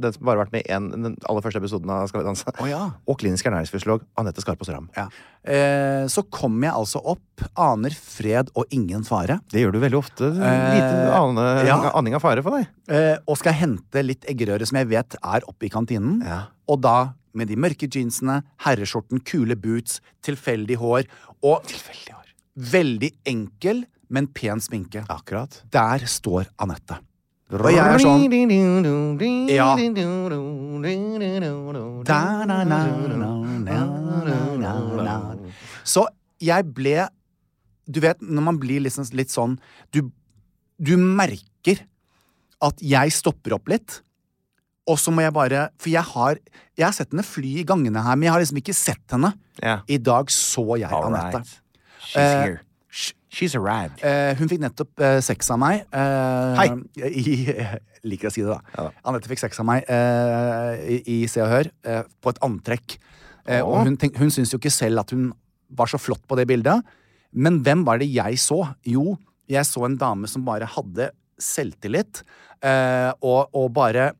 S1: den som bare har vært med i en, den aller første episoden av Skal vi danse,
S2: Å ja.
S1: og klinisk ernæringsfysiolog Anette Skarpaas Ram.
S2: Ja. Eh, så kom jeg altså opp, aner fred og ingen fare.
S1: Det gjør du veldig ofte. Lite ane,
S2: ja.
S1: aning av fare for deg.
S2: Eh, og skal hente litt eggerøre som jeg vet er oppe i kantinen.
S1: Ja.
S2: Og da med de mørke jeansene, herreskjorten, kule boots, tilfeldig hår og veldig enkel, men pen sminke.
S1: Akkurat.
S2: Der står Anette. Og jeg er sånn Ja. Så jeg ble Du vet, når man blir liksom litt sånn du, du merker at jeg stopper opp litt. Og så må jeg bare For jeg har, jeg har sett henne fly i gangene her, men jeg har liksom ikke sett henne.
S1: Ja.
S2: I dag så jeg
S1: All
S2: Anette.
S1: right. She's
S2: Eh,
S1: here. She's arrived.
S2: Eh, hun fikk nettopp eh, sex av meg. eh,
S1: Hei.
S2: I, jeg liker å si det, da.
S1: Ja da.
S2: Anette fikk sex av meg eh, i, i Se og Hør eh, på et antrekk. Eh,
S1: Åh.
S2: og hun, tenk, hun syntes jo ikke selv at hun var så flott på det bildet. Men hvem var det jeg så? Jo, jeg så en dame som bare hadde selvtillit, eh, og, og bare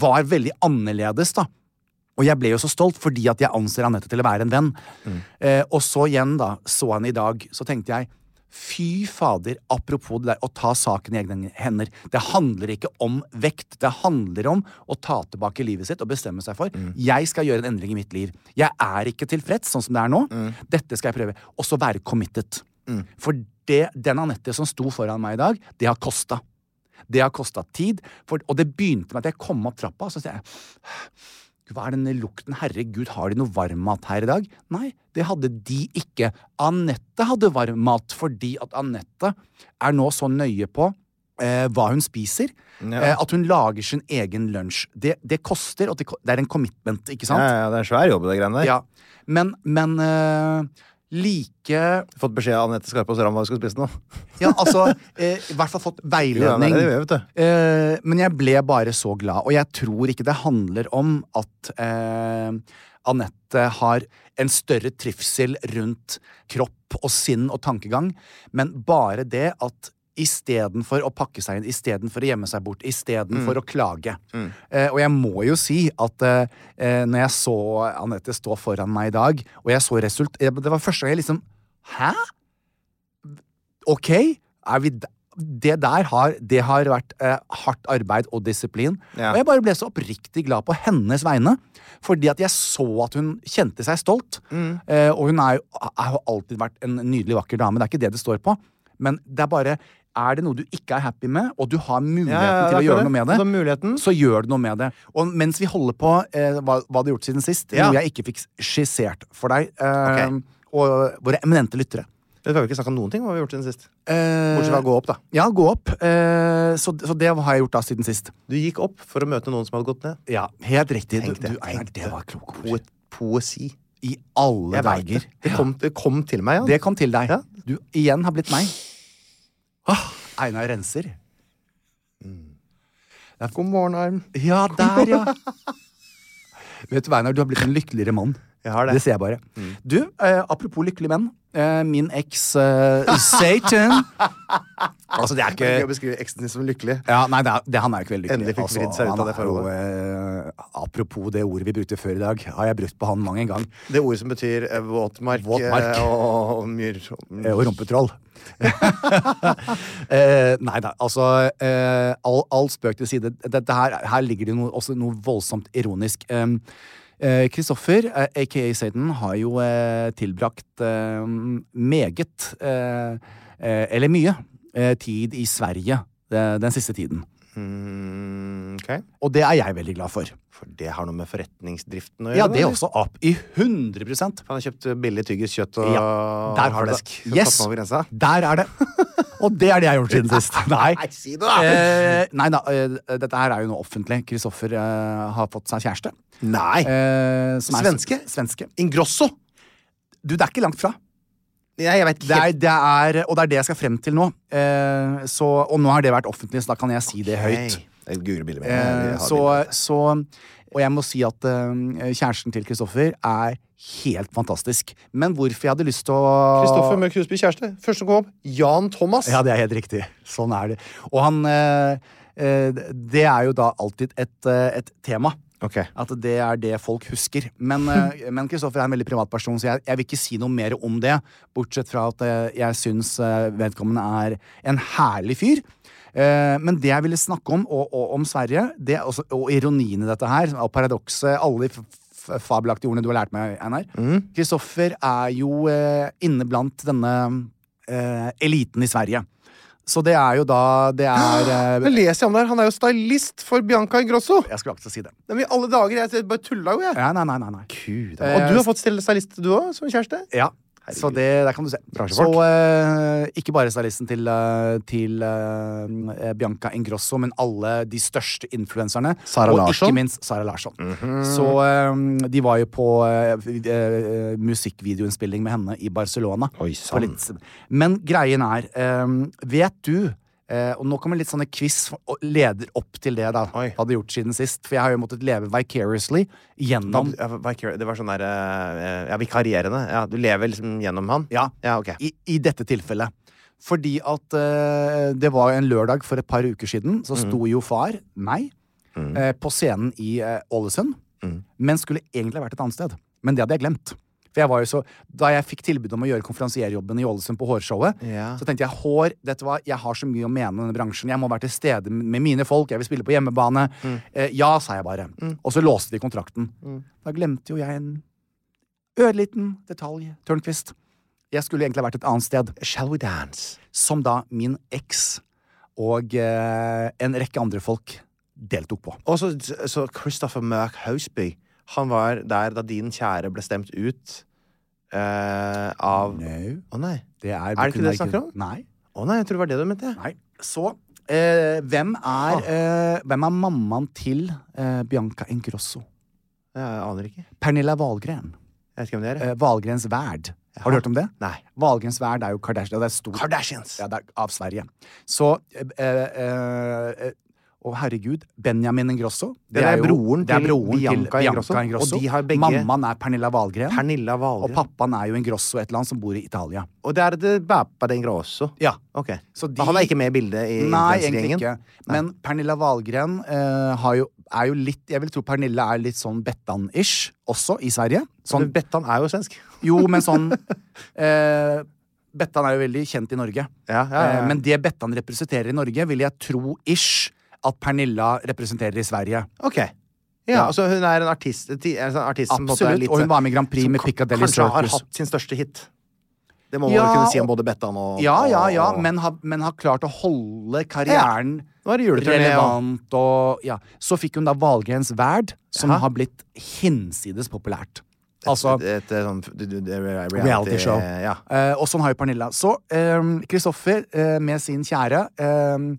S2: var veldig annerledes, da. Og jeg ble jo så stolt fordi at jeg anser Anette til å være en venn. Eh, og så igjen, da, så henne i dag, så tenkte jeg Fy fader, apropos det der å ta saken i egne hender. Det handler ikke om vekt. Det handler om å ta tilbake livet sitt og bestemme seg for jeg skal gjøre en endring i mitt liv. Jeg er ikke tilfreds sånn som det er nå. Dette skal jeg prøve. Og så være committed. For det, den Anette som sto foran meg i dag, det har kosta. Det har kosta tid, for, og det begynte med at jeg kom opp trappa, og så sier jeg Gud, hva er denne lukten? Herregud, har de noe varmmat her i dag? Nei, det hadde de ikke. Anette hadde varmmat fordi at Anette er nå så nøye på eh, hva hun spiser, eh, at hun lager sin egen lunsj. Det, det koster, og det, ko- det er en commitment, ikke
S1: Ja,
S2: sant?
S1: ja, det er svær jobb, det greiene der.
S2: Ja. Men, men eh, like
S1: Fått beskjed av Anette Skarpaas Ramm hva du skal spise nå.
S2: Ja, altså, eh, i hvert fall fått veiledning.
S1: Jo, ja, det er det vi gjør, vet
S2: Eh, men jeg ble bare så glad, og jeg tror ikke det handler om at eh, Anette har en større trivsel rundt kropp og sinn og tankegang, men bare det at Istedenfor å pakke seg inn, istedenfor å gjemme seg bort, istedenfor for å klage. Eh, og jeg må jo si at eh, eh, når jeg så Anette stå foran meg i dag, og jeg så result... eh, Det var første gang jeg liksom Hæ? ok, er vi d- det der har, det har vært eh, hardt arbeid og disiplin.
S1: Ja.
S2: Og jeg bare ble så oppriktig glad på hennes vegne. Fordi at jeg så at hun kjente seg stolt.
S1: Mm.
S2: Eh, og hun er jo, har jo alltid vært en nydelig, vakker dame. Det er ikke det det står på. Men det er bare Er det noe du ikke er happy med, og du har muligheten
S1: ja,
S2: til å
S1: det er
S2: gjøre
S1: akkurat
S2: noe med
S1: det.
S2: det,
S1: Du har muligheten.
S2: så gjør du noe med det. Og mens vi holder på eh, hva, hva du har gjort siden sist,
S1: Ja.
S2: noe jeg ikke fikk skissert for deg, eh,
S1: Ok.
S2: og våre eminente lyttere
S1: Vi har jo ikke snakka om noen ting. Hva har vi gjort siden sist?
S2: Eh,
S1: Bortsett fra å gå opp, da.
S2: Ja, gå opp. Eh, så, så det har jeg gjort da siden sist.
S1: Du gikk opp for å møte noen som hadde gått ned.
S2: Ja, Helt riktig.
S1: Tenk det,
S2: du, du, Einar,
S1: tenk
S2: det
S1: det.
S2: var kloke
S1: Po
S2: ord.
S1: poesi.
S2: I alle
S1: Jeg vet det.
S2: dager.
S1: Det kom, det kom til meg, Jan.
S2: Det kom til deg.
S1: Ja.
S2: Du igjen har blitt meg. Ah, Einar renser.
S1: God morgen, Arm.
S2: Ja, der, ja. Vet du, hva, Einar, du har blitt en lykkeligere mann.
S1: Jeg har det.
S2: Det ser jeg bare. Du, eh, apropos lykkelige menn. Eh, min eks eh, Satan Altså, det
S1: Det er
S2: er
S1: gøy
S2: ikke
S1: å beskrive eksen din som lykkelig.
S2: Ja, nei, det er, det, Han er jo ikke veldig altså,
S1: Endelig fikk vridd seg ut
S2: han
S1: av det
S2: er jo, eh, apropos det ordet vi brukte før i dag, har jeg brukt på han mang en gang.
S1: Det ordet som betyr eh, våtmark,
S2: Våtmark.
S1: eh, og, og myr.
S2: Eh, og rumpetroll. eh, nei da, altså eh, all, all spøk til side. Dette her, her ligger det noe, også noe voldsomt ironisk. Em, eh, Kristoffer, eh, aka Satan, har jo eh, tilbrakt eh, meget, eh, eh, eller mye, eh, tid i Sverige eh, den siste tiden.
S1: Mm, ok.
S2: Og det er jeg veldig glad for.
S1: For det har noe med forretningsdriften å gjøre?
S2: Ja, det
S1: eller?
S2: også opp i 100
S1: Han har kjøpt eh, billig tyggis, kjøtt og
S2: Ja, der har du det.
S1: flesk.
S2: Yes!
S1: Tatt meg over grensa.
S2: Der er det. Og det er det jeg har gjort siden sist. Nei.
S1: Nei, si det da.
S2: Eh, nei da, eh, dette her er jo nå offentlig. Kristoffer eh, har fått seg kjæreste.
S1: Nei!
S2: Eh, som er-
S1: Svenske?
S2: Svenske.
S1: Ingrosso!
S2: Du, det er ikke langt fra.
S1: Nei, jeg vet
S2: Det
S1: ikke.
S2: er, det er, og det er det jeg skal frem til nå. Eh, så, og nå har det vært offentlig, så da kan jeg si det høyt.
S1: Det er gule bilder, men jeg-
S2: Eh,
S1: jeg har
S2: så,
S1: bilder.
S2: så Og jeg må si at eh, kjæresten til Kristoffer er helt fantastisk. Men hvorfor jeg hadde lyst til å
S1: Kristoffer Mørk Husby kjæreste. Første som kom opp, Jan Thomas.
S2: Ja, det er helt riktig. Sånn er det. Og han eh, eh, Det er jo da alltid et, eh, et tema.
S1: Ok.
S2: At det er det folk husker. Men eh, men Kristoffer er en veldig privat person, så jeg, jeg vil ikke si noe mer om det. Bortsett fra at eh, jeg syns eh, vedkommende er en herlig fyr. Eh, Men det jeg ville snakke om, og, og om Sverige, det, er også, og ironien i dette her, og paradokset Alle de f- f- fabelaktige ordene du har lært meg, Einar.
S1: Mm.
S2: Kristoffer er jo eh, inne blant denne eh, eliten i Sverige. Så det er jo da Det er eh,
S1: Men leser jeg om det her? Han er jo stylist for Bianca Ingrosso!
S2: Jeg skulle akkurat si det.
S1: Nei, men i alle dager, jeg bare tulla jo, jeg.
S2: Ja, nei, nei, Eh, nei, nei.
S1: Gud, og du har fått stille stylist, du òg, som kjæreste?
S2: Ja. Så det der kan du se.
S1: Bransjefolk.
S2: Så eh, ikke bare stylisten til, eh, til eh, Bianca Ingrosso, men alle de største influenserne.
S1: Sara
S2: og
S1: Larsson. Mhm.
S2: ikke minst Sara Larsson. Så eh, de var jo på eh, vi- eh, musikkvideoinnspilling med henne i Barcelona.
S1: Oi,
S2: For litt siden. Men greien er, eh, vet du eh, og nå kommer litt sånne quiz og leder opp til det da,
S1: Oi.
S2: hadde gjort siden sist. For jeg har jo måttet leve vicariously gjennom
S1: Ja, Vicar- Det var sånn der eh, Ja, vikarierende. Ja, du lever liksom gjennom han?
S2: Ja.
S1: ja ok.
S2: i, i dette tilfellet. Fordi at eh, det var en lørdag for et par uker siden, så sto jo far, meg,
S1: Mm.
S2: eh, på scenen i eh, Ålesund. Men skulle egentlig ha vært et annet sted. Men det hadde jeg glemt. For jeg var jo så, da jeg fikk tilbud om å gjøre konferansierjobben i Ålesund på Hårshowet,
S1: Ja.
S2: så tenkte jeg hår, vet du hva, jeg har så mye å mene om denne bransjen. Jeg må være til stede med mine folk, jeg vil spille på hjemmebane.
S1: Mm.
S2: Eh, ja, sa jeg bare. Og så låste de kontrakten. Da glemte jo jeg en ørliten detalj, Tørnquist. Jeg skulle egentlig ha vært et annet sted
S1: Shall we dance?
S2: som da min eks og eh, en rekke andre folk deltok på.
S1: Og så så Christopher Merck Houseby. Han var der da din kjære ble stemt ut eh, av Å
S2: No.
S1: nei.
S2: Det er,
S1: Er det ikke det du
S2: Buchenwald-
S1: snakker om?
S2: Nei.
S1: Å nei, jeg tror det var det du mente.
S2: Nei. Så eh, hvem,
S1: Ah.
S2: er, eh, hvem er mammaen til eh, Bianca Ingrosso?
S1: Jeg aner ikke.
S2: Pernilla Wahlgren.
S1: Jeg vet ikke hvem det er. jeg.
S2: Eh, Wahlgrens verd. Har du hørt om det?
S1: Nei.
S2: Wahlgrens verd er jo Kardashian. Det er stor.
S1: Kardashians!
S2: Ja, det er av Sverige. Så eh, eh, eh, eh, Å, herregud. Benjamin Ingrosso.
S1: Den er broren
S2: det er
S1: til
S2: broren
S1: Bianca Ingrosso, og de har begge-
S2: Mammaen er Pernilla Wahlgren.
S1: Pernilla
S2: Og
S1: Wahlgren. Og,
S2: pappaen er jo Ingrosso, et eller annet som bor i Italia.
S1: det er det Bappa den Grosso.
S2: Ja.
S1: Ok.
S2: Så
S1: Men
S2: de-
S1: Han er ikke med i bildet i
S2: Nei, egentlig
S1: influensergjengen?
S2: ikke. Men Pernilla Wahlgren eh, har jo, er jo litt Jeg vil tro Pernilla er litt sånn Bettan-ish også, i Sverige. Sånn,
S1: Men Bettan er jo svensk.
S2: jo, men sånn eh, Bettan er jo veldig kjent i Norge.
S1: Ja, ja, ja, ja.
S2: Eh, men det Bettan representerer i Norge, vil jeg tro-ish at Pernilla representerer i Sverige.
S1: Ok. Ja, altså Hun er en artist, ti- en sånn artist som på en måte er
S2: Absolutt.
S1: litt-
S2: Og hun var med i Grand Prix
S1: som
S2: med
S1: ka-
S2: Piccadilly
S1: Kanskje har
S2: Circus.
S1: hatt sin største hit. Det må man
S2: Ja,
S1: vel kunne si om
S2: og-
S1: både Bettan og
S2: Ja, ja, ja,
S1: og-
S2: men har, men har klart å holde karrieren
S1: Nå er det juleturné. og-
S2: relevant og ja. Så fikk hun da Valgrens Verd, som
S1: Jaha.
S2: har blitt hinsides populært. Altså
S1: Et, et, et sånn d- d- d- reality,
S2: reality show.
S1: Ja.
S2: Eh, og sånn har jo Pernilla. Så Kristoffer med sin kjære eh,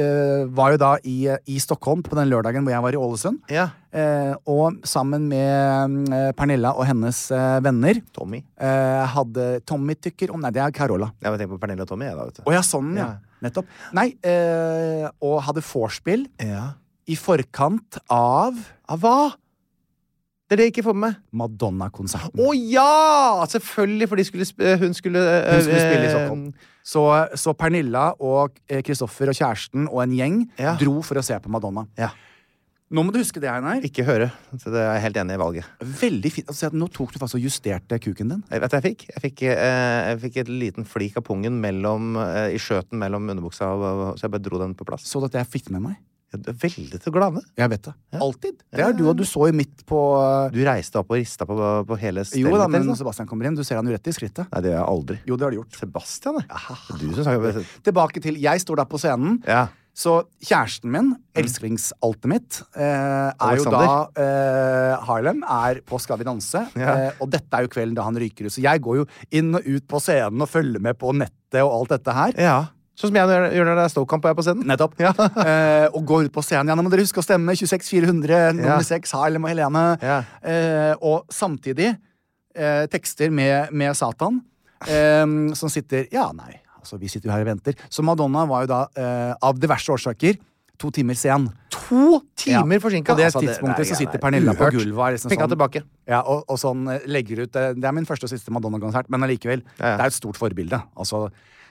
S2: eh, var jo da i, i Stockholm på den lørdagen hvor jeg var i Ålesund.
S1: ja.
S2: Eh, og sammen med eh, Pernilla og hennes eh, venner
S1: Tommy.
S2: eh, hadde Tommy tykker om Nei, det er Carola.
S1: Jeg tenker på Pernille og Tommy. Jeg, da, vet du.
S2: Å ja, sånn, ja.
S1: Ja.
S2: Nettopp. Nei, eh, og hadde vorspiel
S1: ja.
S2: i forkant av
S1: Av hva? Det er det jeg ikke får med meg.
S2: Madonna-konserten.
S1: Å ja! Selvfølgelig, for de skulle sp hun skulle eh,
S2: Hun skulle spille i
S1: eh,
S2: Stockholm. Så, så Pernilla og eh, Kristoffer og kjæresten og en gjeng
S1: Ja.
S2: dro for å se på Madonna.
S1: Ja.
S2: Nå må du huske det, Einar.
S1: eh, Ikke høre. Så det er jeg helt enig i valget.
S2: Veldig fint. Altså, nå tok du faktisk og justerte kuken din.
S1: Jeg vet du hva jeg fikk? Jeg fikk, eh, jeg fikk et liten flik av pungen mellom, eh, i skjøten mellom underbuksa, og, og- så jeg bare dro den på plass.
S2: Så du at jeg fikk det med meg?
S1: Ja, Du er veldig til å glane.
S2: Jeg vet det. Alltid. Det
S1: Ja.
S2: er du, og du så jo midt på eh,
S1: Du reiste opp og rista på, på hele stedet. liksom?
S2: Jo da, men når Sebastian kommer inn, du ser han jo rett i skrittet.
S1: Nei, det gjør jeg aldri.
S2: Jo, det har du gjort.
S1: Sebastian, jeg. Det er Du som snakker
S2: Tilbake til Jeg står da på scenen.
S1: Ja.
S2: Så kjæresten min, elsklingsaltet mitt, eh, er jo
S1: Mm.
S2: da
S1: Alexander.
S2: eh, Harlem er på Skal vi danse.
S1: Ja.
S2: Eh, og dette er jo kvelden da han ryker ut. Så jeg går jo inn og ut på scenen og følger med på nettet og alt dette her.
S1: ja. Sånn som jeg når- gjør når det er Stoke-kamp og jeg er på scenen.
S2: Nettopp. eh, og går ut på scenen. Ja, nå må dere huske å stemme. 26400,
S1: Ja.
S2: nummer 6, Harlem og Helene.
S1: Ja.
S2: Eh, og samtidig eh, tekster med, med Satan, eh, som sitter Ja, nei, altså, vi sitter jo her og venter. Så Madonna var jo da, eh, av diverse årsaker, to timer sen.
S1: To timer Altså, forsinka!
S2: På det tidspunktet så sitter Pernilla på gulvet og er liksom
S1: Penga
S2: sånn
S1: tilbake.
S2: ja, og, og sånn eh, legger ut eh, Det er min første og siste Madonna-konsert, men allikevel.
S1: Ja, ja.
S2: Det er et stort forbilde. Altså,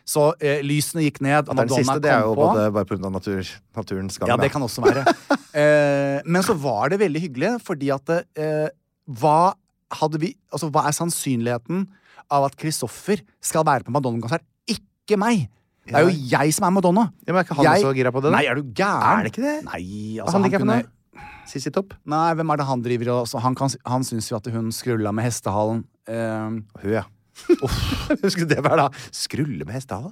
S2: så eh, lysene gikk ned,
S1: At det er
S2: og Madonna
S1: den siste, det er jo
S2: kom på.
S1: både bare pga. Natur, naturens gang.
S2: Ja, det
S1: da.
S2: kan også være. eh, men så var det veldig hyggelig, fordi at eh, hva, hadde vi, altså, hva er sannsynligheten av at Kristoffer skal være på Madonna-konsert? Ikke meg! Det er jo jeg som er Madonna.
S1: Ja, men er ikke han
S2: Jeg-
S1: også gira på det? da?
S2: Nei, er du gæren?
S1: Er det ikke det?
S2: Nei,
S1: Hva
S2: altså,
S1: han
S2: han,
S1: liker på
S2: kunne
S1: nå? Sissi Topp?
S2: Nei, hvem er det han driver og så Han, kan- han syns jo at hun skrulla med hestehalen. Eh,
S1: Hun, ja. Hvem skulle det være, da? Skrulle med hestehale?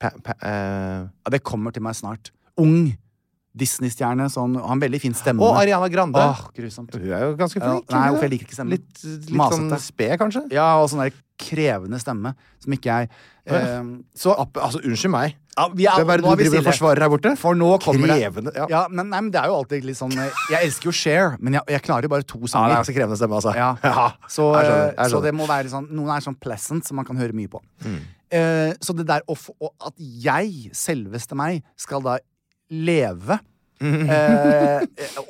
S1: Pa, pa, eh,
S2: ja, det kommer til meg snart. Ung Disney-stjerne. Sånn, har en veldig fin stemme.
S1: Og Ariana Grande.
S2: Åh, grusomt.
S1: Hun er jo ganske
S2: Ja,
S1: flink.
S2: nei,
S1: hun,
S2: uff,
S1: da.
S2: jeg liker ikke stemmen.
S1: Litt, litt sånn
S2: Masete.
S1: sped, kanskje?
S2: Ja, og sånn der krevende stemme som ikke jeg eh, Så
S1: App- altså, unnskyld meg.
S2: Ja, vi er-
S1: Hvem er det
S2: nå er
S1: du
S2: vi
S1: driver og
S2: stille.
S1: forsvarer her borte?
S2: For nå kommer
S1: Krevende,
S2: det
S1: ja.
S2: ja men, nei, men det er jo alltid litt sånn eh, Jeg elsker jo Share, men jeg, jeg klarer jo bare to
S1: Ja, det er
S2: sanger.
S1: ganske krevende stemme, altså.
S2: Ja. Så,
S1: jeg skjønner,
S2: eh,
S1: jeg
S2: så
S1: skjønner. Mm.
S2: det må være sånn Noen er sånn pleasant, som man kan høre mye på. Eh, så det der å få og At jeg, selveste meg, skal da leve
S1: Mm.
S2: eh,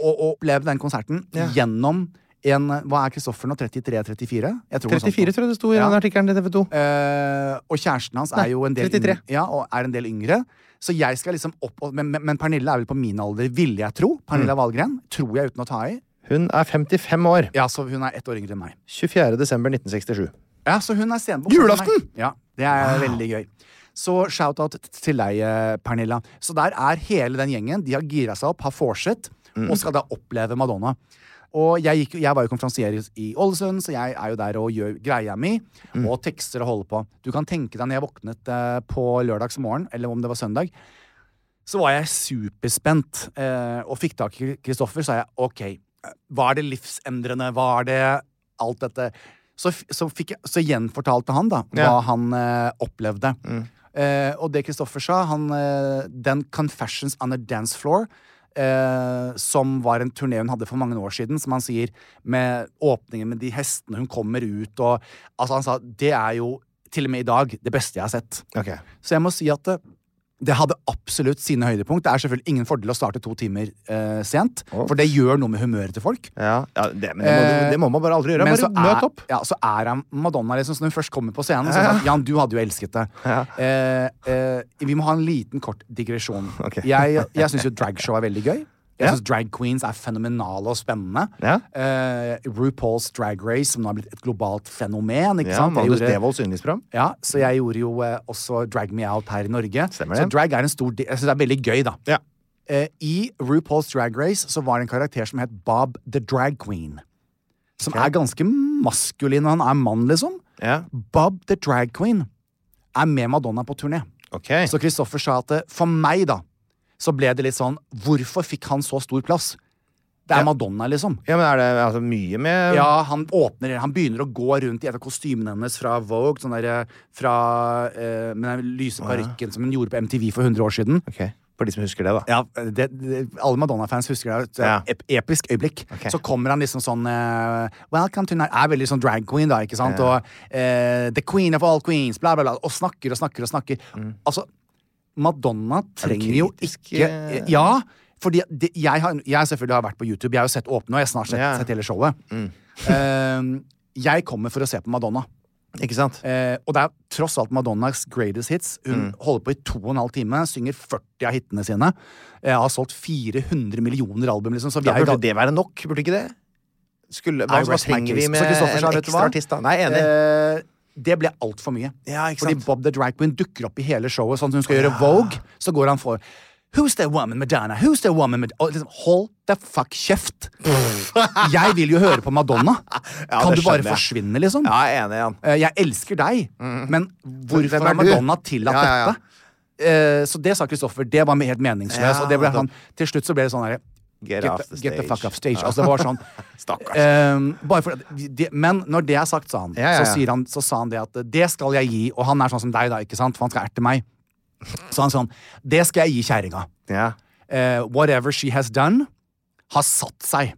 S2: og, og oppleve den konserten gjennom en Hva er Kristoffer nå? 33-34?
S1: 34, tror jeg det sto i
S2: Ja.
S1: den artikkelen til TV 2.
S2: Eh, og kjæresten hans er jo en del,
S1: 33.
S2: yng- ja, og er en del yngre. Så jeg skal liksom opp og, men, men- men Pernille er vel på min alder, ville jeg tro. Pernille Wahlgren. Tror jeg uten å ta i.
S1: Hun er 55 år.
S2: Ja, så hun er ett år yngre enn meg.
S1: 24. desember 1967.
S2: Ja, så hun er senbok.
S1: Julaften!
S2: Ja, det er veldig gøy. Så shout-out t- til deg, eh, Pernilla. Så der er hele den gjengen. De har gira seg opp, har vorset, og skal da oppleve Madonna. Og jeg, gikk, jo- jeg var jo konferansier i- i Ålesund, så jeg er jo der og gjør greia mi. Og tekster og holder på. Du kan tenke deg når jeg våknet eh, på lørdagsmorgen, eller om det var søndag, så var jeg superspent eh, og fikk tak i Kristoffer. Så sa jeg OK, hva er det livsendrende? Hva er det alt dette? Så, f- så, fikk jeg, så gjenfortalte han da hva
S1: Ja.
S2: han eh, opplevde. Eh, og det Kristoffer sa, han, eh, den 'Confessions on a Dance Floor', eh, som var en turné hun hadde for mange år siden, som han sier, med åpningen med de hestene hun kommer ut og Altså, han sa det er jo til og med i dag det beste jeg har sett.
S1: Ok.
S2: Så jeg må si at det, det hadde absolutt sine høydepunkt. Det er selvfølgelig ingen fordel å starte to timer eh, sent, for det gjør noe med humøret til folk.
S1: Ja, ja det, men det, må, det må man bare aldri gjøre.
S2: Men
S1: Bare
S2: så er-
S1: møt opp.
S2: Ja, så er han Madonna, liksom. Så når hun først kommer på scenen, så er det sånn Jan, du hadde jo elsket det. Eh, eh, vi må ha en liten, kort digresjon.
S1: Ok.
S2: Jeg, jeg syns jo dragshow er veldig gøy. Jeg
S1: Ja.
S2: syns drag queens er fenomenale og spennende.
S1: Ja.
S2: Eh, RuPaul's Drag Race, som nå har blitt et globalt fenomen. Ikke
S1: Ja,
S2: sant? Jeg
S1: Magnus
S2: gjorde-
S1: Devold synlighetspram.
S2: ja, så jeg gjorde jo eh, også Drag Me Out her i Norge.
S1: Stemmer
S2: Så
S1: det.
S2: drag er en stor del Jeg synes det er veldig gøy, da.
S1: Ja.
S2: Eh, I RuPaul's Drag Race så var det en karakter som het Bob the Drag Queen. Som er ganske maskulin, og han er mann, liksom.
S1: Ja.
S2: Bob the Drag Queen er med Madonna på turné.
S1: Ok.
S2: Så Kristoffer sa at eh, for meg, da, så ble det litt sånn Hvorfor fikk han så stor plass? Det er Madonna, liksom.
S1: ja, men er det altså, mye med
S2: Ja, han åpner Han begynner å gå rundt i et av kostymene hennes fra Vogue. Sånn der, fra eh, med den lyse parykken som hun gjorde på MTV for 100 år siden.
S1: Ok, For de som husker det, da.
S2: Ja, det, det, Alle Madonna-fans husker det. det er
S1: Ja.
S2: et ep- episk øyeblikk.
S1: Ok.
S2: Så kommer han liksom sånn eh, Welcome to night Er veldig sånn drag queen, da. ikke sant? Og eh, The queen of all queens, bla, bla, bla. Og snakker og snakker og snakker. Altså, Madonna trenger jo
S1: Mm. kritisk,
S2: ikke
S1: eh?
S2: Ja. Fordi det, jeg, har, jeg selvfølgelig har vært på YouTube. Jeg har jo sett Åpne, og jeg har snart sett,
S1: Ja. Mm.
S2: sett hele showet. Eh, jeg kommer for å se på Madonna.
S1: Ikke sant?
S2: Eh, og det er tross alt Madonnas greatest hits. Hun
S1: Mm.
S2: holder på i to og en halv time, synger 40 av hitene sine. Eh, har solgt 400 millioner album, liksom. Så vi
S1: Da
S2: er jo
S1: burde
S2: da-
S1: det være nok, burde ikke det? Skulle, hva,
S2: I
S1: hva
S2: rest my
S1: trenger
S2: case.
S1: vi
S2: Så
S1: med
S2: Kristoffer sa,
S1: en
S2: vet du hva?
S1: ekstra artist, da? Nei, enig.
S2: Eh, det ble altfor mye.
S1: Ja, ikke
S2: Fordi
S1: sant?
S2: Bob the Drag Queen dukker opp i hele showet. Sånn som hun skal gjøre Vogue, så går han for Who's the woman Madonna? Who's the woman Madonna? Og liksom, hold the fuck kjeft! jeg vil jo høre på Madonna!
S1: Ja,
S2: kan
S1: det
S2: du bare
S1: skjønner jeg.
S2: forsvinne, liksom?
S1: ja, jeg er enig, Jan.
S2: Eh, Jeg elsker deg, men hvorfor
S1: Hvem Mm. er
S2: har Madonna
S1: du?
S2: tillatt
S1: Ja, ja, ja.
S2: dette? Eh, så det sa Kristoffer. Det var helt meningsløst.
S1: Ja,
S2: og det ble
S1: nettopp.
S2: sånn, til slutt så ble det sånn herre
S1: Get
S2: the-
S1: off the
S2: get the
S1: stage.
S2: fuck off stage.
S1: Ja.
S2: Altså, det var sånn.
S1: Stakkars.
S2: eh, bare for, at de- de, men når det er sagt, sa han,
S1: Ja, ja,
S2: Så,
S1: ja.
S2: sier han, så sa han det at eh, det skal jeg gi. Og han er sånn som deg, da, ikke sant? for han skal erte meg. Så han sånn Det skal jeg gi kjerringa.
S1: Ja.
S2: Eh, whatever she has done, har satt seg.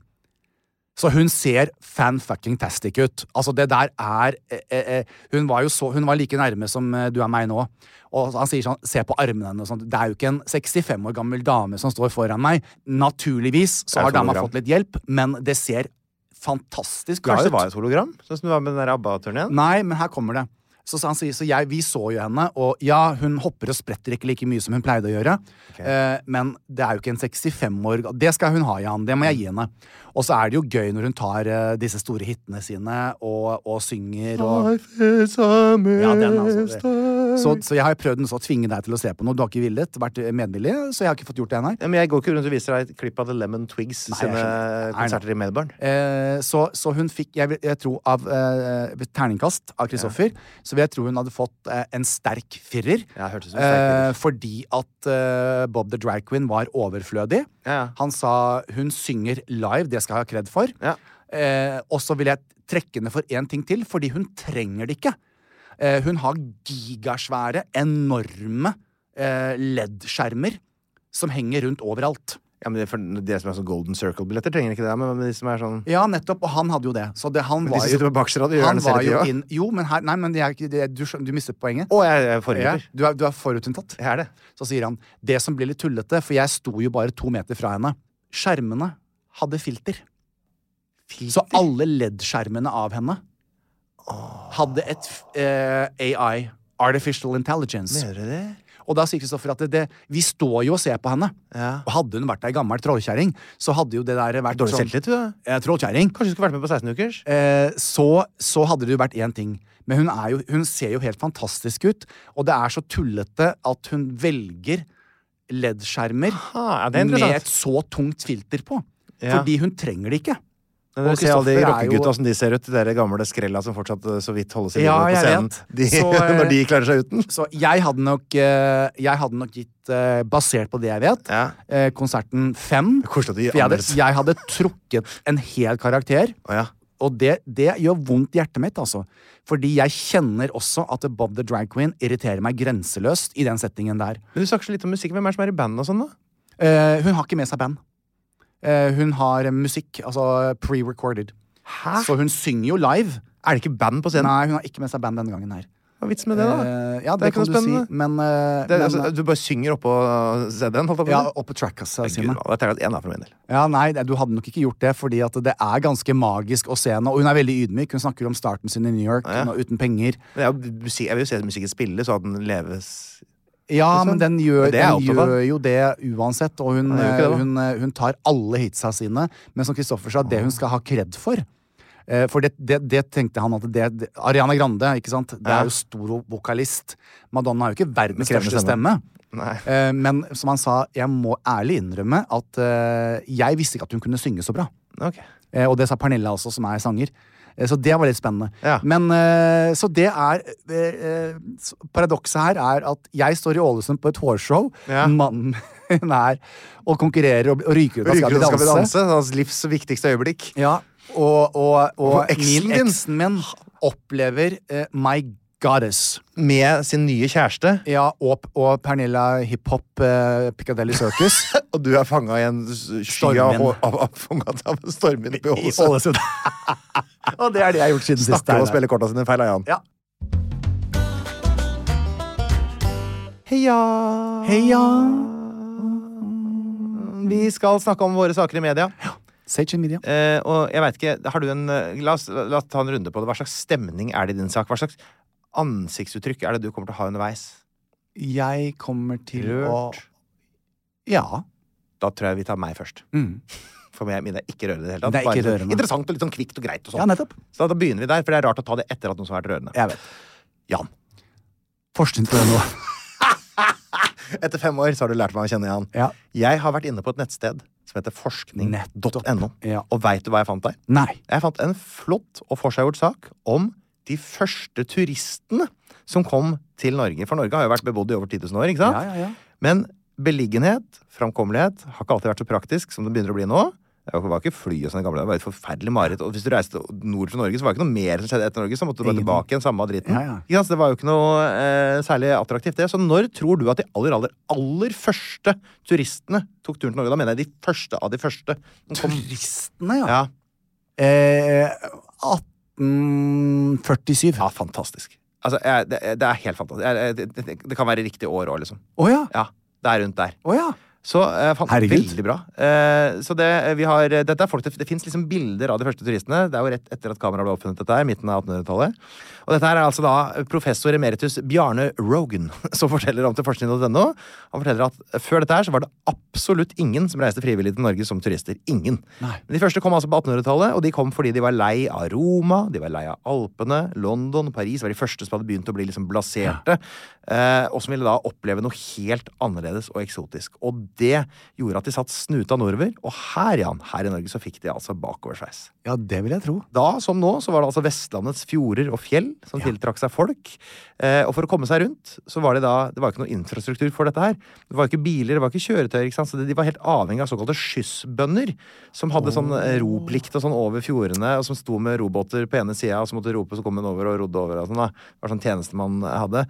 S2: Så hun ser fan-fucking-tastic ut. Altså, det der er eh, eh, eh, Hun var jo så Hun var like nærme som eh, du er meg nå. Og han sier sånn Se på armene henne og sånt. Det er jo ikke en 65 år gammel dame som står foran meg. Naturligvis
S1: er
S2: så har dama
S1: hologram.
S2: fått litt hjelp, men det ser fantastisk bra
S1: Kanskje det
S2: ut.
S1: var et hologram? Sånn som det var med den der ABBA-turneen?
S2: Nei, men her kommer det. Så, han sier, så jeg, vi så jo henne, og ja, hun hopper og spretter ikke like mye som hun pleide å gjøre, eh, men det er jo ikke en 65 år ga- Det skal hun ha, Jan. Det må jeg gi henne. Og så er det jo gøy når hun tar eh, disse store hitene sine og, og synger og
S1: altså,
S2: ja, den altså. det- Så, så jeg har prøvd å tvinge deg til å se på noe. Du har ikke villet, vært medvillig, så jeg har ikke fått gjort det ennå.
S1: Ja, men jeg går ikke rundt og viser deg et klipp av The Lemon Twigs
S2: Nei, jeg
S1: sine
S2: skjønner. Nei, nei.
S1: konserter i Melbourne.
S2: Eh, så, så hun fikk, jeg, vil- jeg tror av eh, ved terningkast av Kristoffer, så vil jeg tro hun hadde fått eh, en sterk firer.
S1: Ja, hørtes ut som en sterk
S2: Eh, fordi at eh, Bob the Drag Queen var overflødig.
S1: Ja, ja.
S2: Han sa hun synger live, det skal jeg ha kred for.
S1: Ja.
S2: Eh, og så vil jeg trekke henne for én ting til, fordi hun trenger det ikke. Eh, hun har gigasvære, enorme eh, LED-skjermer som henger rundt overalt.
S1: Ja, men det, for det som er sånn Golden Circle-billetter, trenger ikke det. Men, men de som er sånn
S2: Ja, nettopp, og han hadde jo det. Så det, han
S1: Men
S2: var
S1: disse
S2: jo,
S1: sitter på bakerste rad i hjørnet
S2: han
S1: selv
S2: var
S1: i
S2: jo
S1: tida.
S2: inn, Jo, men her, nei, men det er ikke, det, du, skjøn- du mistet poenget.
S1: Å, jeg, jeg
S2: Ja,
S1: forhjuler.
S2: du, er, du er forutinntatt.
S1: Jeg er det.
S2: Så sier han det som blir litt tullete, for jeg sto jo bare to meter fra henne. Skjermene hadde filter. Så alle LED-skjermene av henne hadde et f- eh, AI, Artificial Intelligence.
S1: Mener du det?
S2: Og da sier Kristoffer at det, det, vi står jo og ser på henne.
S1: Ja.
S2: Og hadde hun vært ei gammel trollkjerring, så hadde jo det der vært
S1: Dårlig
S2: sånn-
S1: selvtillit, du, da.
S2: Eh, Trollkjerring.
S1: Kanskje du skulle vært med på 16-ukers?
S2: Eh, så, så hadde det jo vært én ting. Men hun, er jo, hun ser jo helt fantastisk ut, og det er så tullete at hun velger LED-skjermer
S1: Aha, ja, det er
S2: med
S1: interessant.
S2: et så tungt filter på.
S1: Ja.
S2: Fordi hun trenger det ikke.
S1: Når
S2: Og
S1: du ser alle de
S2: Kristoffer er
S1: rockegutta
S2: jo-
S1: som de ser ut, de der gamle skrella som fortsatt eh, så vidt holdes i live
S2: Ja,
S1: på
S2: jeg
S1: scenen.
S2: vet.
S1: De,
S2: Så, eh,
S1: når de klarer seg uten.
S2: Så jeg hadde nok, eh, jeg hadde nok gitt, eh, basert på det jeg vet,
S1: Ja.
S2: eh, konserten fem.
S1: Koselig at du gir
S2: For jeg hadde,
S1: anmeldelse.
S2: jeg hadde trukket en hel karakter.
S1: Å ja.
S2: Og det, det gjør vondt i hjertet mitt, altså. Fordi jeg kjenner også at Bob the Drag Queen irriterer meg grenseløst i den settingen der.
S1: Men du snakker så litt om musikk. Hvem er det som er i band og sånn, da?
S2: Eh, hun har ikke med seg band. Eh, hun har musikk, altså pre-recorded.
S1: Hæ?
S2: Så hun synger jo live.
S1: Er det ikke band på scenen?
S2: Nei, hun har ikke med seg band denne gangen her.
S1: Hva er vitsen med det, da?
S2: Eh,
S1: Det
S2: ja,
S1: er
S2: det,
S1: ikke noe
S2: kan du si.
S1: spennende.
S2: Men, eh,
S1: det,
S2: men
S1: altså, du bare synger oppå CD-en, holdt jeg på
S2: ja,
S1: å si?
S2: opp på tracka,
S1: Gud,
S2: Simen.
S1: det er terningkast én, da, for min del.
S2: Ja, nei, det- du hadde nok ikke gjort det, fordi at det er ganske magisk å se henne. Og hun er veldig ydmyk. Hun snakker om starten sin i New York, hun er uten penger.
S1: Men jeg, er jo musikk- jeg vil jo se musikken spille, så at den leves
S2: Ja, men den gjør,
S1: Men det er jeg
S2: den
S1: opptatt av.
S2: gjør jo det uansett, og hun,
S1: Ja, den gjør ikke det, da.
S2: hun, hun tar alle hitsa sine. Men som Kristoffer sa, det hun skal ha kred for eh, For det, det, det tenkte han at det, det Ariana Grande, ikke sant? Det
S1: Ja.
S2: er jo stor vokalist. Madonna er jo ikke verdens
S1: Med krevende
S2: største stemme.
S1: Nei.
S2: Eh, Men som han sa, jeg må ærlig innrømme at eh, jeg visste ikke at hun kunne synge så bra.
S1: Ok.
S2: Eh, Og det sa Pernille også, som er sanger. Eh, Så det var litt spennende.
S1: Ja.
S2: Men eh, Så det er eh, eh, s- Paradokset her er at jeg står i Ålesund på et hårshow.
S1: Ja.
S2: Mannen min er og konkurrerer og, og ryker ut av
S1: Ryker
S2: Skal
S1: ut
S2: vi
S1: av Skal vi
S2: danse.
S1: danse? Hans livs viktigste øyeblikk.
S2: Ja, og og,
S1: Og
S2: og
S1: eksen
S2: min
S1: din?
S2: eksen min opplever eh, My Goddess.
S1: Med sin nye kjæreste.
S2: Ja, og, og Pernilla Hiphop eh, Piccadilly Circus.
S1: Og du er fanga i en sky av,
S2: Stormvind.
S1: av, av, fanget av en stormvind oppi
S2: I
S1: Ålesund.
S2: Ålesund. og det er det jeg har gjort siden sist.
S1: Snakker om å
S2: Einar.
S1: spille korta sine feil av Jan.
S2: Ja.
S1: Heia.
S2: Heia. Ah.
S1: Mm, Vi skal snakke om våre saker i media.
S2: Sage in media.
S1: Eh, og jeg vet ikke, har du en eh, la oss, la oss ta en runde på det. Hva slags stemning er det i din sak? Hva slags ansiktsuttrykk er det du kommer til å ha underveis?
S2: Jeg kommer til
S1: Rørt.
S2: å Ja.
S1: Da tror jeg vi tar meg først. For meg, mine er ikke rørende i det hele tatt.
S2: Mm. Det er ikke
S1: Bare sånn
S2: rørende.
S1: Interessant og litt sånn kvikt og greit og sånn.
S2: Ja, nettopp.
S1: Så da begynner vi der, for det er rart å ta det etter at noen som har vært rørende.
S2: Jeg vet.
S1: Jan.
S2: Forskning på det nå.
S1: Etter fem år så har du lært meg å kjenne Jan.
S2: Ja.
S1: Jeg har vært inne på et nettsted som heter forskning.no.
S2: Ja.
S1: Og veit du hva jeg fant der?
S2: Nei.
S1: Jeg fant en flott og forseggjort sak om de første turistene som kom til Norge. For Norge har jo vært bebodd i over 10 000 år, ikke sant?
S2: Ja, ja, ja.
S1: Men beliggenhet, framkommelighet, har ikke alltid vært så praktisk som det begynner å bli nå. Det var ikke fly og sånne gamle, det var et forferdelig mareritt. Og hvis du reiste nord for Norge, så var det ikke noe mer som skjedde etter Norge, så måtte du dra tilbake igjen, samme dritten.
S2: Ja, ja.
S1: Ikke sant? Så det var jo ikke noe eh, særlig attraktivt, det. Så når tror du at de aller, aller, aller første turistene tok turen til Norge? Da mener jeg de første av de første. som kom-
S2: Turistene, ja.
S1: Ja,
S2: Eh, 1847.
S1: ja fantastisk. Altså, jeg, det, det er helt fantastisk. Jeg, jeg, det, det, det kan være riktig år òg, liksom.
S2: Å ja.
S1: Ja, det er rundt der.
S2: Å ja.
S1: Så eh, fant
S2: Herregud.
S1: Veldig bra. Eh, så det, eh, vi har, eh, dette er folk, det, det fins liksom bilder av de første turistene. Det er jo rett etter at kameraet ble oppfunnet, dette her, midten av 1800-tallet. Og dette her er altså da professor emeritus Bjarne Rogan som forteller om til forskning.no. Han forteller at før dette her så var det absolutt ingen som reiste frivillig til Norge som turister. Ingen.
S2: Nei.
S1: Men de første kom altså på 1800-tallet, og de kom fordi de var lei av Roma, de var lei av Alpene, London, Paris var de første som hadde begynt å bli liksom blaserte, eh, og som ville da oppleve noe helt annerledes og eksotisk. Og det gjorde at de satt snuta nordover, og her, Jan, her i Norge så fikk de altså bakoversveis.
S2: Ja, det vil jeg tro.
S1: Da som nå så var det altså Vestlandets fjorder og fjell som tiltrakk seg folk. Eh, og for å komme seg rundt, så var det da Det var ikke noe infrastruktur for dette her. Det var ikke biler, det var ikke kjøretøyer, ikke sant. Så de var helt avhengig av såkalte skyssbønder. Som hadde sånn eh, roplikt og sånn over fjordene, og som sto med robåter på ene sida, og så måtte rope, så kom hun over og rodde over og sånn, da. Det var sånn tjenestemann hadde.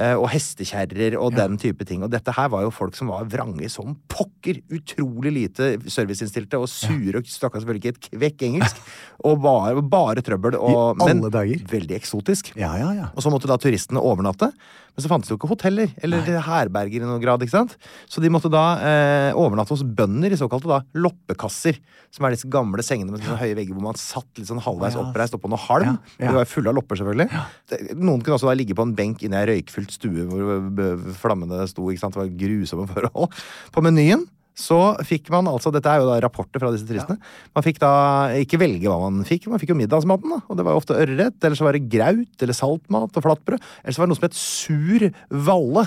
S1: Eh, Og hestekjerrer og den type ting. Og dette her var jo folk som var vrange som pokker. Utrolig lite serviceinnstilte og sure og stakk selvfølgelig ikke et kvekk engelsk. Og bare, bare trøbbel. Og,
S2: I alle dager.
S1: veldig eksotisk.
S2: Ja, ja, ja.
S1: Og så måtte da turistene overnatte Men så fantes det jo ikke hoteller eller herberger i noen grad. ikke sant? Så de måtte da eh, overnatte hos bønder i såkalte da loppekasser. Som er disse gamle sengene med sånne høye vegger hvor man satt litt sånn halvveis oppreist oppå noe halm.
S2: Ja, ja.
S1: De var fulle av lopper, selvfølgelig. Det- Noen kunne også da ligge på en benk inne i ei røykfylt stue hvor b- flammene sto. ikke sant? Det var grusomme forhold. På menyen så fikk man altså, dette er jo da rapporter fra disse turistene, man fikk da ikke velge hva man fikk, man fikk jo middagsmaten da, og det var jo ofte ørret, eller så var det graut, eller saltmat og flatbrød, eller så var det noe som het sur valle,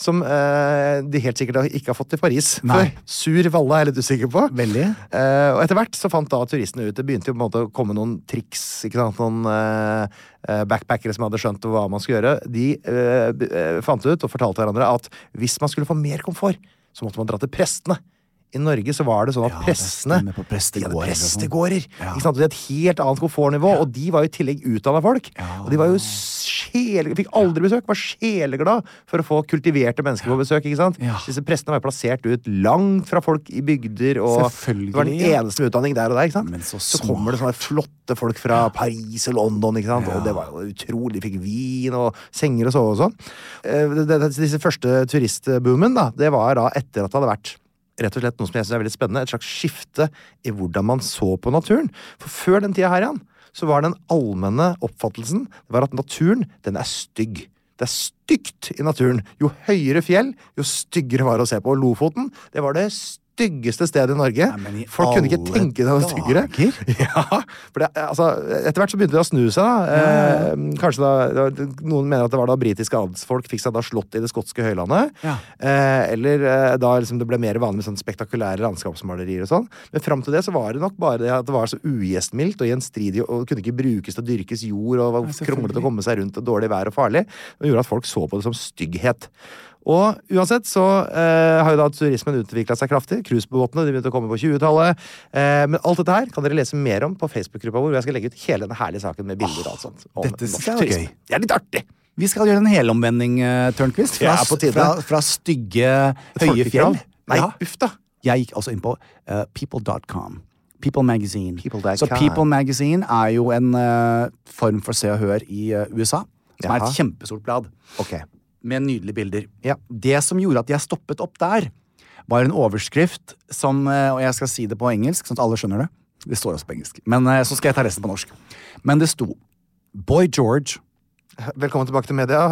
S1: som eh, de helt sikkert da ikke har fått i Paris
S2: Nei.
S1: før. Sur valle er jeg litt usikker på.
S2: Veldig.
S1: Eh, og etter hvert så fant da turistene ut Det begynte jo på en måte å komme noen triks. Ikke sant? Noen eh, eh, backpackere som hadde skjønt hva man skulle gjøre. De eh, b- eh, fant ut og fortalte hverandre at hvis man skulle få mer komfort, så måtte man dra til prestene. I Norge så var det sånn at
S2: Ja, det
S1: prestene
S2: stemmer på
S1: de
S2: prestegårder
S1: hadde
S2: og sånn.
S1: prestegårder.
S2: Ja.
S1: Ikke sant? Og De hadde et helt annet komfortnivå, og de var jo i tillegg utdanna folk. Og de var jo sjele, fikk aldri besøk, var sjeleglad for å få kultiverte mennesker på besøk. ikke sant?
S2: Ja.
S1: Disse prestene var jo plassert ut langt fra folk i bygder. og
S2: Selvfølgelig,
S1: det var den
S2: ja.
S1: eneste med utdanning der og der. ikke sant?
S2: Men så
S1: kommer det sånne flotte folk fra Paris og London, ikke sant? og det var jo utrolig. De fikk vin og senger og sove og sånn. Eh, det- det- Disse første turistboomen, da, det var da etter at det hadde vært rett og slett noe som jeg synes er veldig spennende, et slags skifte i hvordan man så på naturen. For før den tida her igjen, så var den allmenne oppfattelsen det var at naturen, den er stygg. Det er stygt i naturen. Jo høyere fjell, jo styggere var det å se på. Og Lofoten, det var det styggeste stedet i Norge.
S2: Nei, men i
S1: Folk kunne ikke
S2: alle
S1: tenke seg noe styggere.
S2: dager.
S1: Ja, for det, altså, etter hvert så begynte det å snu seg. Da. Eh, kanskje da, da, Noen mener at det var da britiske adelsfolk fikk seg da slått i det skotske høylandet.
S2: Ja.
S1: Eh, eller eh, da liksom det ble mer vanlig med sånne spektakulære landskapsmalerier og sånn. Men fram til det så var det nok bare det at det var så ugjestmildt og gjenstridig og kunne ikke brukes til å dyrkes jord og var kronglete å komme seg rundt og dårlig vær og farlig. Det gjorde at folk så på det som stygghet. Og uansett så eh, har jo da turismen utvikla seg kraftig. Cruisebåtene de begynte å komme på 20-tallet. Eh, men alt dette her kan dere lese mer om på Facebook-gruppa vår. hvor Jeg skal legge ut hele denne herlige saken med bilder og alt sånt. om
S2: dette synes
S1: norsk
S2: jeg var
S1: turisme.
S2: gøy.
S1: Det er litt artig!
S2: Vi skal gjøre en helomvending, uh, Tørnquist.
S1: Det
S2: Fra,
S1: er på tide.
S2: fra, fra stygge, høye fjell.
S1: Folkekrav. Nei,
S2: Ja.
S1: uff da.
S2: Jeg gikk altså inn på eh, people.com. People Magazine.
S1: People.com.
S2: Så People Magazine er jo en eh, form for Se og Hør i eh, USA. Som er
S1: Jaha.
S2: et kjempestort blad
S1: Ok.
S2: med nydelige bilder.
S1: Ja.
S2: Det som gjorde at jeg stoppet opp der, var en overskrift som eh, Og jeg skal si det på engelsk, sånn at alle skjønner det. Det står også på engelsk. Men eh, så skal jeg ta resten på norsk. Men det sto Boy George
S1: Velkommen tilbake til media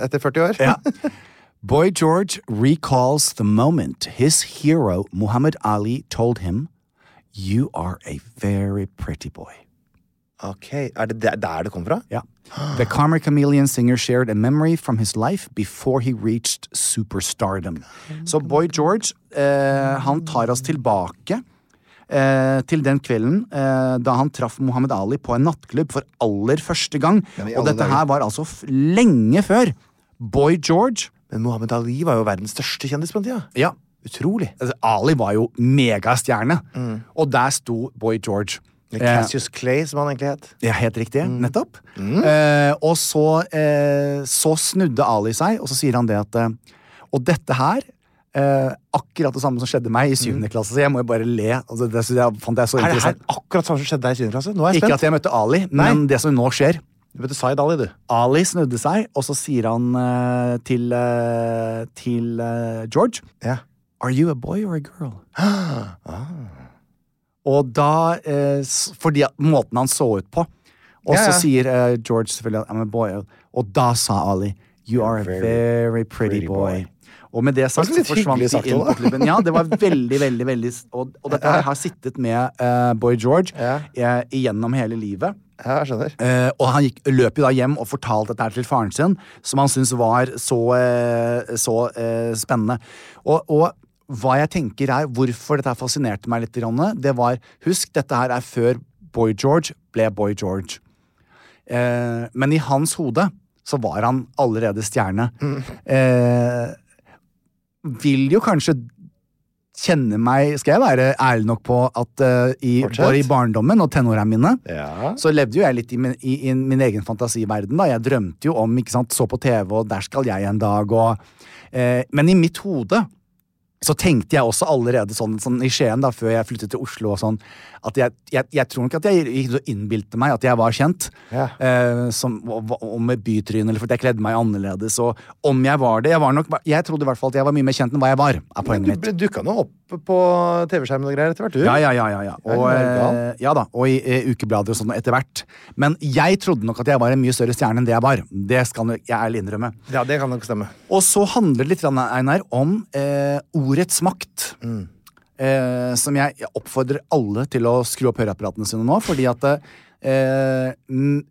S1: etter 40 år.
S2: Ja. Boy George recalls the moment his hero, Muhammad Ali, told him, You are a very pretty boy.
S1: Ok, Er det der, der det kom fra?
S2: Yeah. The Karma Chameleon singer shared a memory from his life before he reached superstardom. Så Boy George, eh, han tar oss tilbake eh, til den kvelden eh, da han traff Muhammad Ali på en nattklubb for aller første gang.
S1: men i
S2: Og
S1: alle
S2: dette
S1: dager.
S2: her var altså f lenge før Boy George
S1: Men Mohammed Ali var jo verdens største kjendis på den tida.
S2: Ja.
S1: Utrolig.
S2: Altså, Ali var jo megastjerne,
S1: Mm.
S2: og der sto Boy George. Eh,
S1: Cassius Clay, som han egentlig het.
S2: Ja, helt riktig.
S1: Mm.
S2: Nettopp. Eh, og så, eh, så snudde Ali seg, og så sier han det at eh, Og dette her eh, Akkurat det samme som skjedde meg i syvende klasse, så jeg må jo bare le. Altså, det synes jeg, fant jeg så
S1: Mm. Er det her
S2: interessant.
S1: akkurat samme som skjedde deg i 7. klasse? Nå er jeg
S2: Ikke
S1: spent.
S2: at jeg møtte Ali, men det som nå skjer
S1: Du møtte Zaid Ali, du.
S2: Ali snudde seg, og så sier han eh, til, eh, til eh, George
S1: Ja. Ah.
S2: Are you a boy or a girl? Og da eh, s- Fordi at måten han så ut på. Og
S1: Ja,
S2: så
S1: ja.
S2: sier eh, George selvfølgelig at I'm a boy. Og da sa Ali You are a very pretty,
S1: pretty
S2: boy.
S1: boy.
S2: Og med det sagt
S1: Det var
S2: så
S1: litt
S2: forsvant
S1: hyggelig
S2: de
S1: sagt,
S2: inn på
S1: da.
S2: klubben. Ja, det var veldig, veldig, veldig s- Og, og dette her har sittet med eh, Boy George
S1: Ja.
S2: eh, gjennom hele livet.
S1: Ja, jeg skjønner.
S2: Eh, og han gikk, løp jo da hjem og fortalte dette her til faren sin, som han syntes var så, eh, så eh, spennende. Og, og hva jeg tenker er, hvorfor dette her fascinerte meg litt, grann, det var Husk, dette her er før Boy George ble Boy George. Eh, men i hans hode så var han allerede stjerne.
S1: Mm.
S2: Eh, vil jo kanskje kjenne meg Skal jeg være ærlig nok på at eh, i,
S1: Fortsett.
S2: bare i barndommen og tenåra mine
S1: Ja.
S2: så levde jo jeg litt i min, i, i min egen fantasiverden. da. Jeg drømte jo om, ikke sant, så på TV, og der skal jeg en dag, og eh, Men i mitt hode så tenkte jeg også allerede sånn, sånn i Skien, da, før jeg flyttet til Oslo, og sånn, at jeg, jeg, jeg tror nok at jeg gikk og innbilte meg at jeg var kjent.
S1: Ja.
S2: eh, som, og, og med bytryne, eller fordi jeg kledde meg annerledes. Og om jeg var det Jeg, var nok, jeg trodde i hvert fall at jeg var mye mer kjent enn hva jeg var. er poenget mitt.
S1: Du dukka nå opp på TV-skjermen og greier etter hvert, du.
S2: Ja, ja, ja. ja, ja. Og,
S1: Er du gal?
S2: eh, ja da, og i eh, ukeblader og sånn etter hvert. Men jeg trodde nok at jeg var en mye større stjerne enn det jeg var. Det skal nok jeg ærlig innrømme.
S1: Ja, det kan nok stemme.
S2: Og så handler det litt, grann, Einar, om eh, ordets makt. Eh, som jeg jeg oppfordrer alle til å skru opp høreapparatene sine nå, fordi at eh, n-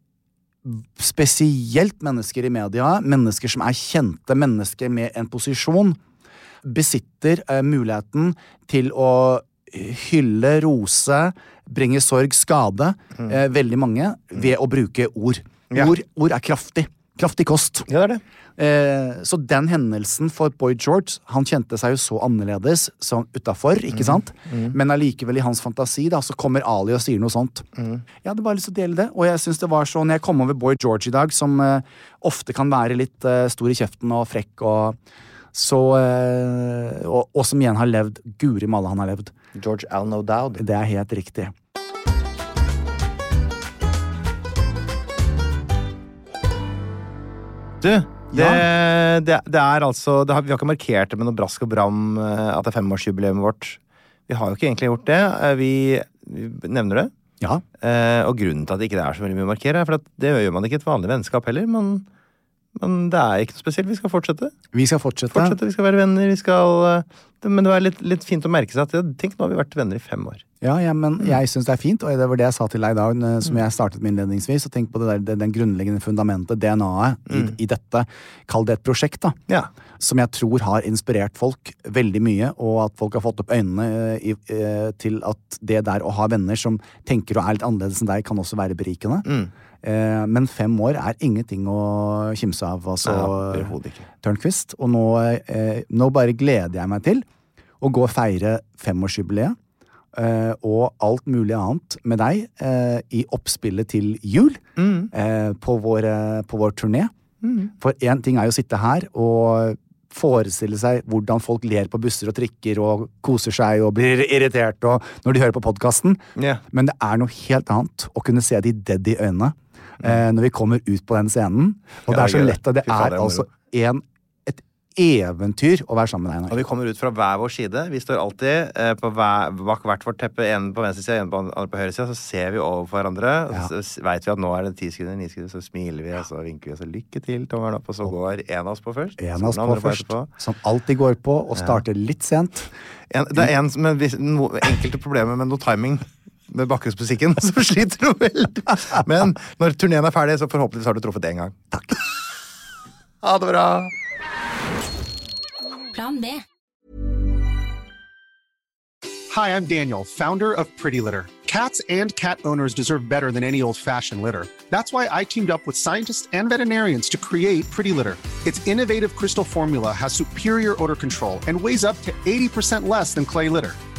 S2: Spesielt mennesker i media, mennesker som er kjente, mennesker med en posisjon, besitter eh, muligheten til å hylle, rose, bringe sorg, skade, eh, veldig mange, ved å bruke ord.
S1: Ja.
S2: Ord, ord er kraftig. Kraftig kost.
S1: Ja, det er det.
S2: Eh, så den hendelsen for Boy George Han kjente seg jo så annerledes som utafor, ikke sant? Men allikevel, i hans fantasi, da, så kommer Ali og sier noe sånt. Jeg hadde bare lyst til å dele det, og jeg synes det var så Når jeg kom over Boy George i dag, som eh, ofte kan være litt eh, stor i kjeften og frekk og så eh, og, og som igjen har levd. Guri malla, han har levd.
S1: George Allen O'Dowd.
S2: Det er helt riktig.
S1: Du, det, det, det er altså det har, Vi har ikke markert det med noe brask og bram eh, at det er femårsjubileet vårt. Vi har jo ikke egentlig gjort det. Eh, Vi, vi nevner det.
S2: Ja.
S1: Eh, og grunnen til at det ikke er så veldig mye å markere, er for at det gjør man ikke i et vanlig vennskap heller. Men, men det er ikke noe spesielt. Vi skal fortsette.
S2: Vi skal fortsette.
S1: fortsette vi skal være venner. Vi skal, eh, det, men det er litt, litt fint å merke seg at ja, tenk, nå har vi vært venner i fem år.
S2: Ja, ja, men jeg syns det er fint, og det var det jeg sa til deg i dag, n- som jeg startet med innledningsvis. Og tenk på det der, det, den grunnleggende fundamentet, DNA-et, i, i dette. Kall det et prosjekt, da.
S1: Ja.
S2: Som jeg tror har inspirert folk veldig mye, og at folk har fått opp øynene eh, i, eh, til at det der å ha venner som tenker og er litt annerledes enn deg, kan også være berikende. Eh, men fem år er ingenting å kimse av, altså.
S1: Nei, overhodet ikke.
S2: Tørnquist. Og nå, eh, nå bare gleder jeg meg til å gå og feire femårsjubileet eh, og alt mulig annet med deg eh, i oppspillet til jul eh, på, vår, eh, på vår turné. For én ting er jo å sitte her og forestille seg hvordan folk ler på busser og trikker og koser seg og blir irritert og når de hører på podkasten.
S1: Ja.
S2: Men det er noe helt annet å kunne se de dead i øynene eh, når vi kommer ut på den scenen.
S1: Mm. Ja,
S2: Og det er så
S1: gøy.
S2: lett at det
S1: Fy faen,
S2: er
S1: det er
S2: altså
S1: moro.
S2: en, et eventyr å være sammen med deg.
S1: Og
S2: Einar.
S1: vi kommer ut fra hver vår side. Vi står alltid eh, på hver, bak hvert vårt teppe, en på venstre side, en på, andre på høyre side. Så ser vi over på hverandre, og så s- vet vi at nå er det ti sekunder, ni sekunder, så smiler vi, og så vinker vi, og så lykke til, tommelen opp, og så går en av oss på først.
S2: En
S1: så
S2: av oss
S1: den
S2: på
S1: andre
S2: først,
S1: etterpå.
S2: som alltid går på og starter litt sent.
S1: En, det er en som- men hvis- no, enkelte problemer med noe timing med bakgrunnsmusikken, så sliter du veldig. Men når turneen er ferdig, så forhåpentligvis har du truffet én gang. Takk. Ha det bra.
S5: Plan B.
S6: Hi, I'm Daniel, founder of Pretty Litter. Cats and cat owners deserve better than any old fashioned litter. That's why I teamed up with scientists and veterinarians to create Pretty Litter. Its innovative crystal formula has superior odor control and weighs up to 80% less than clay litter.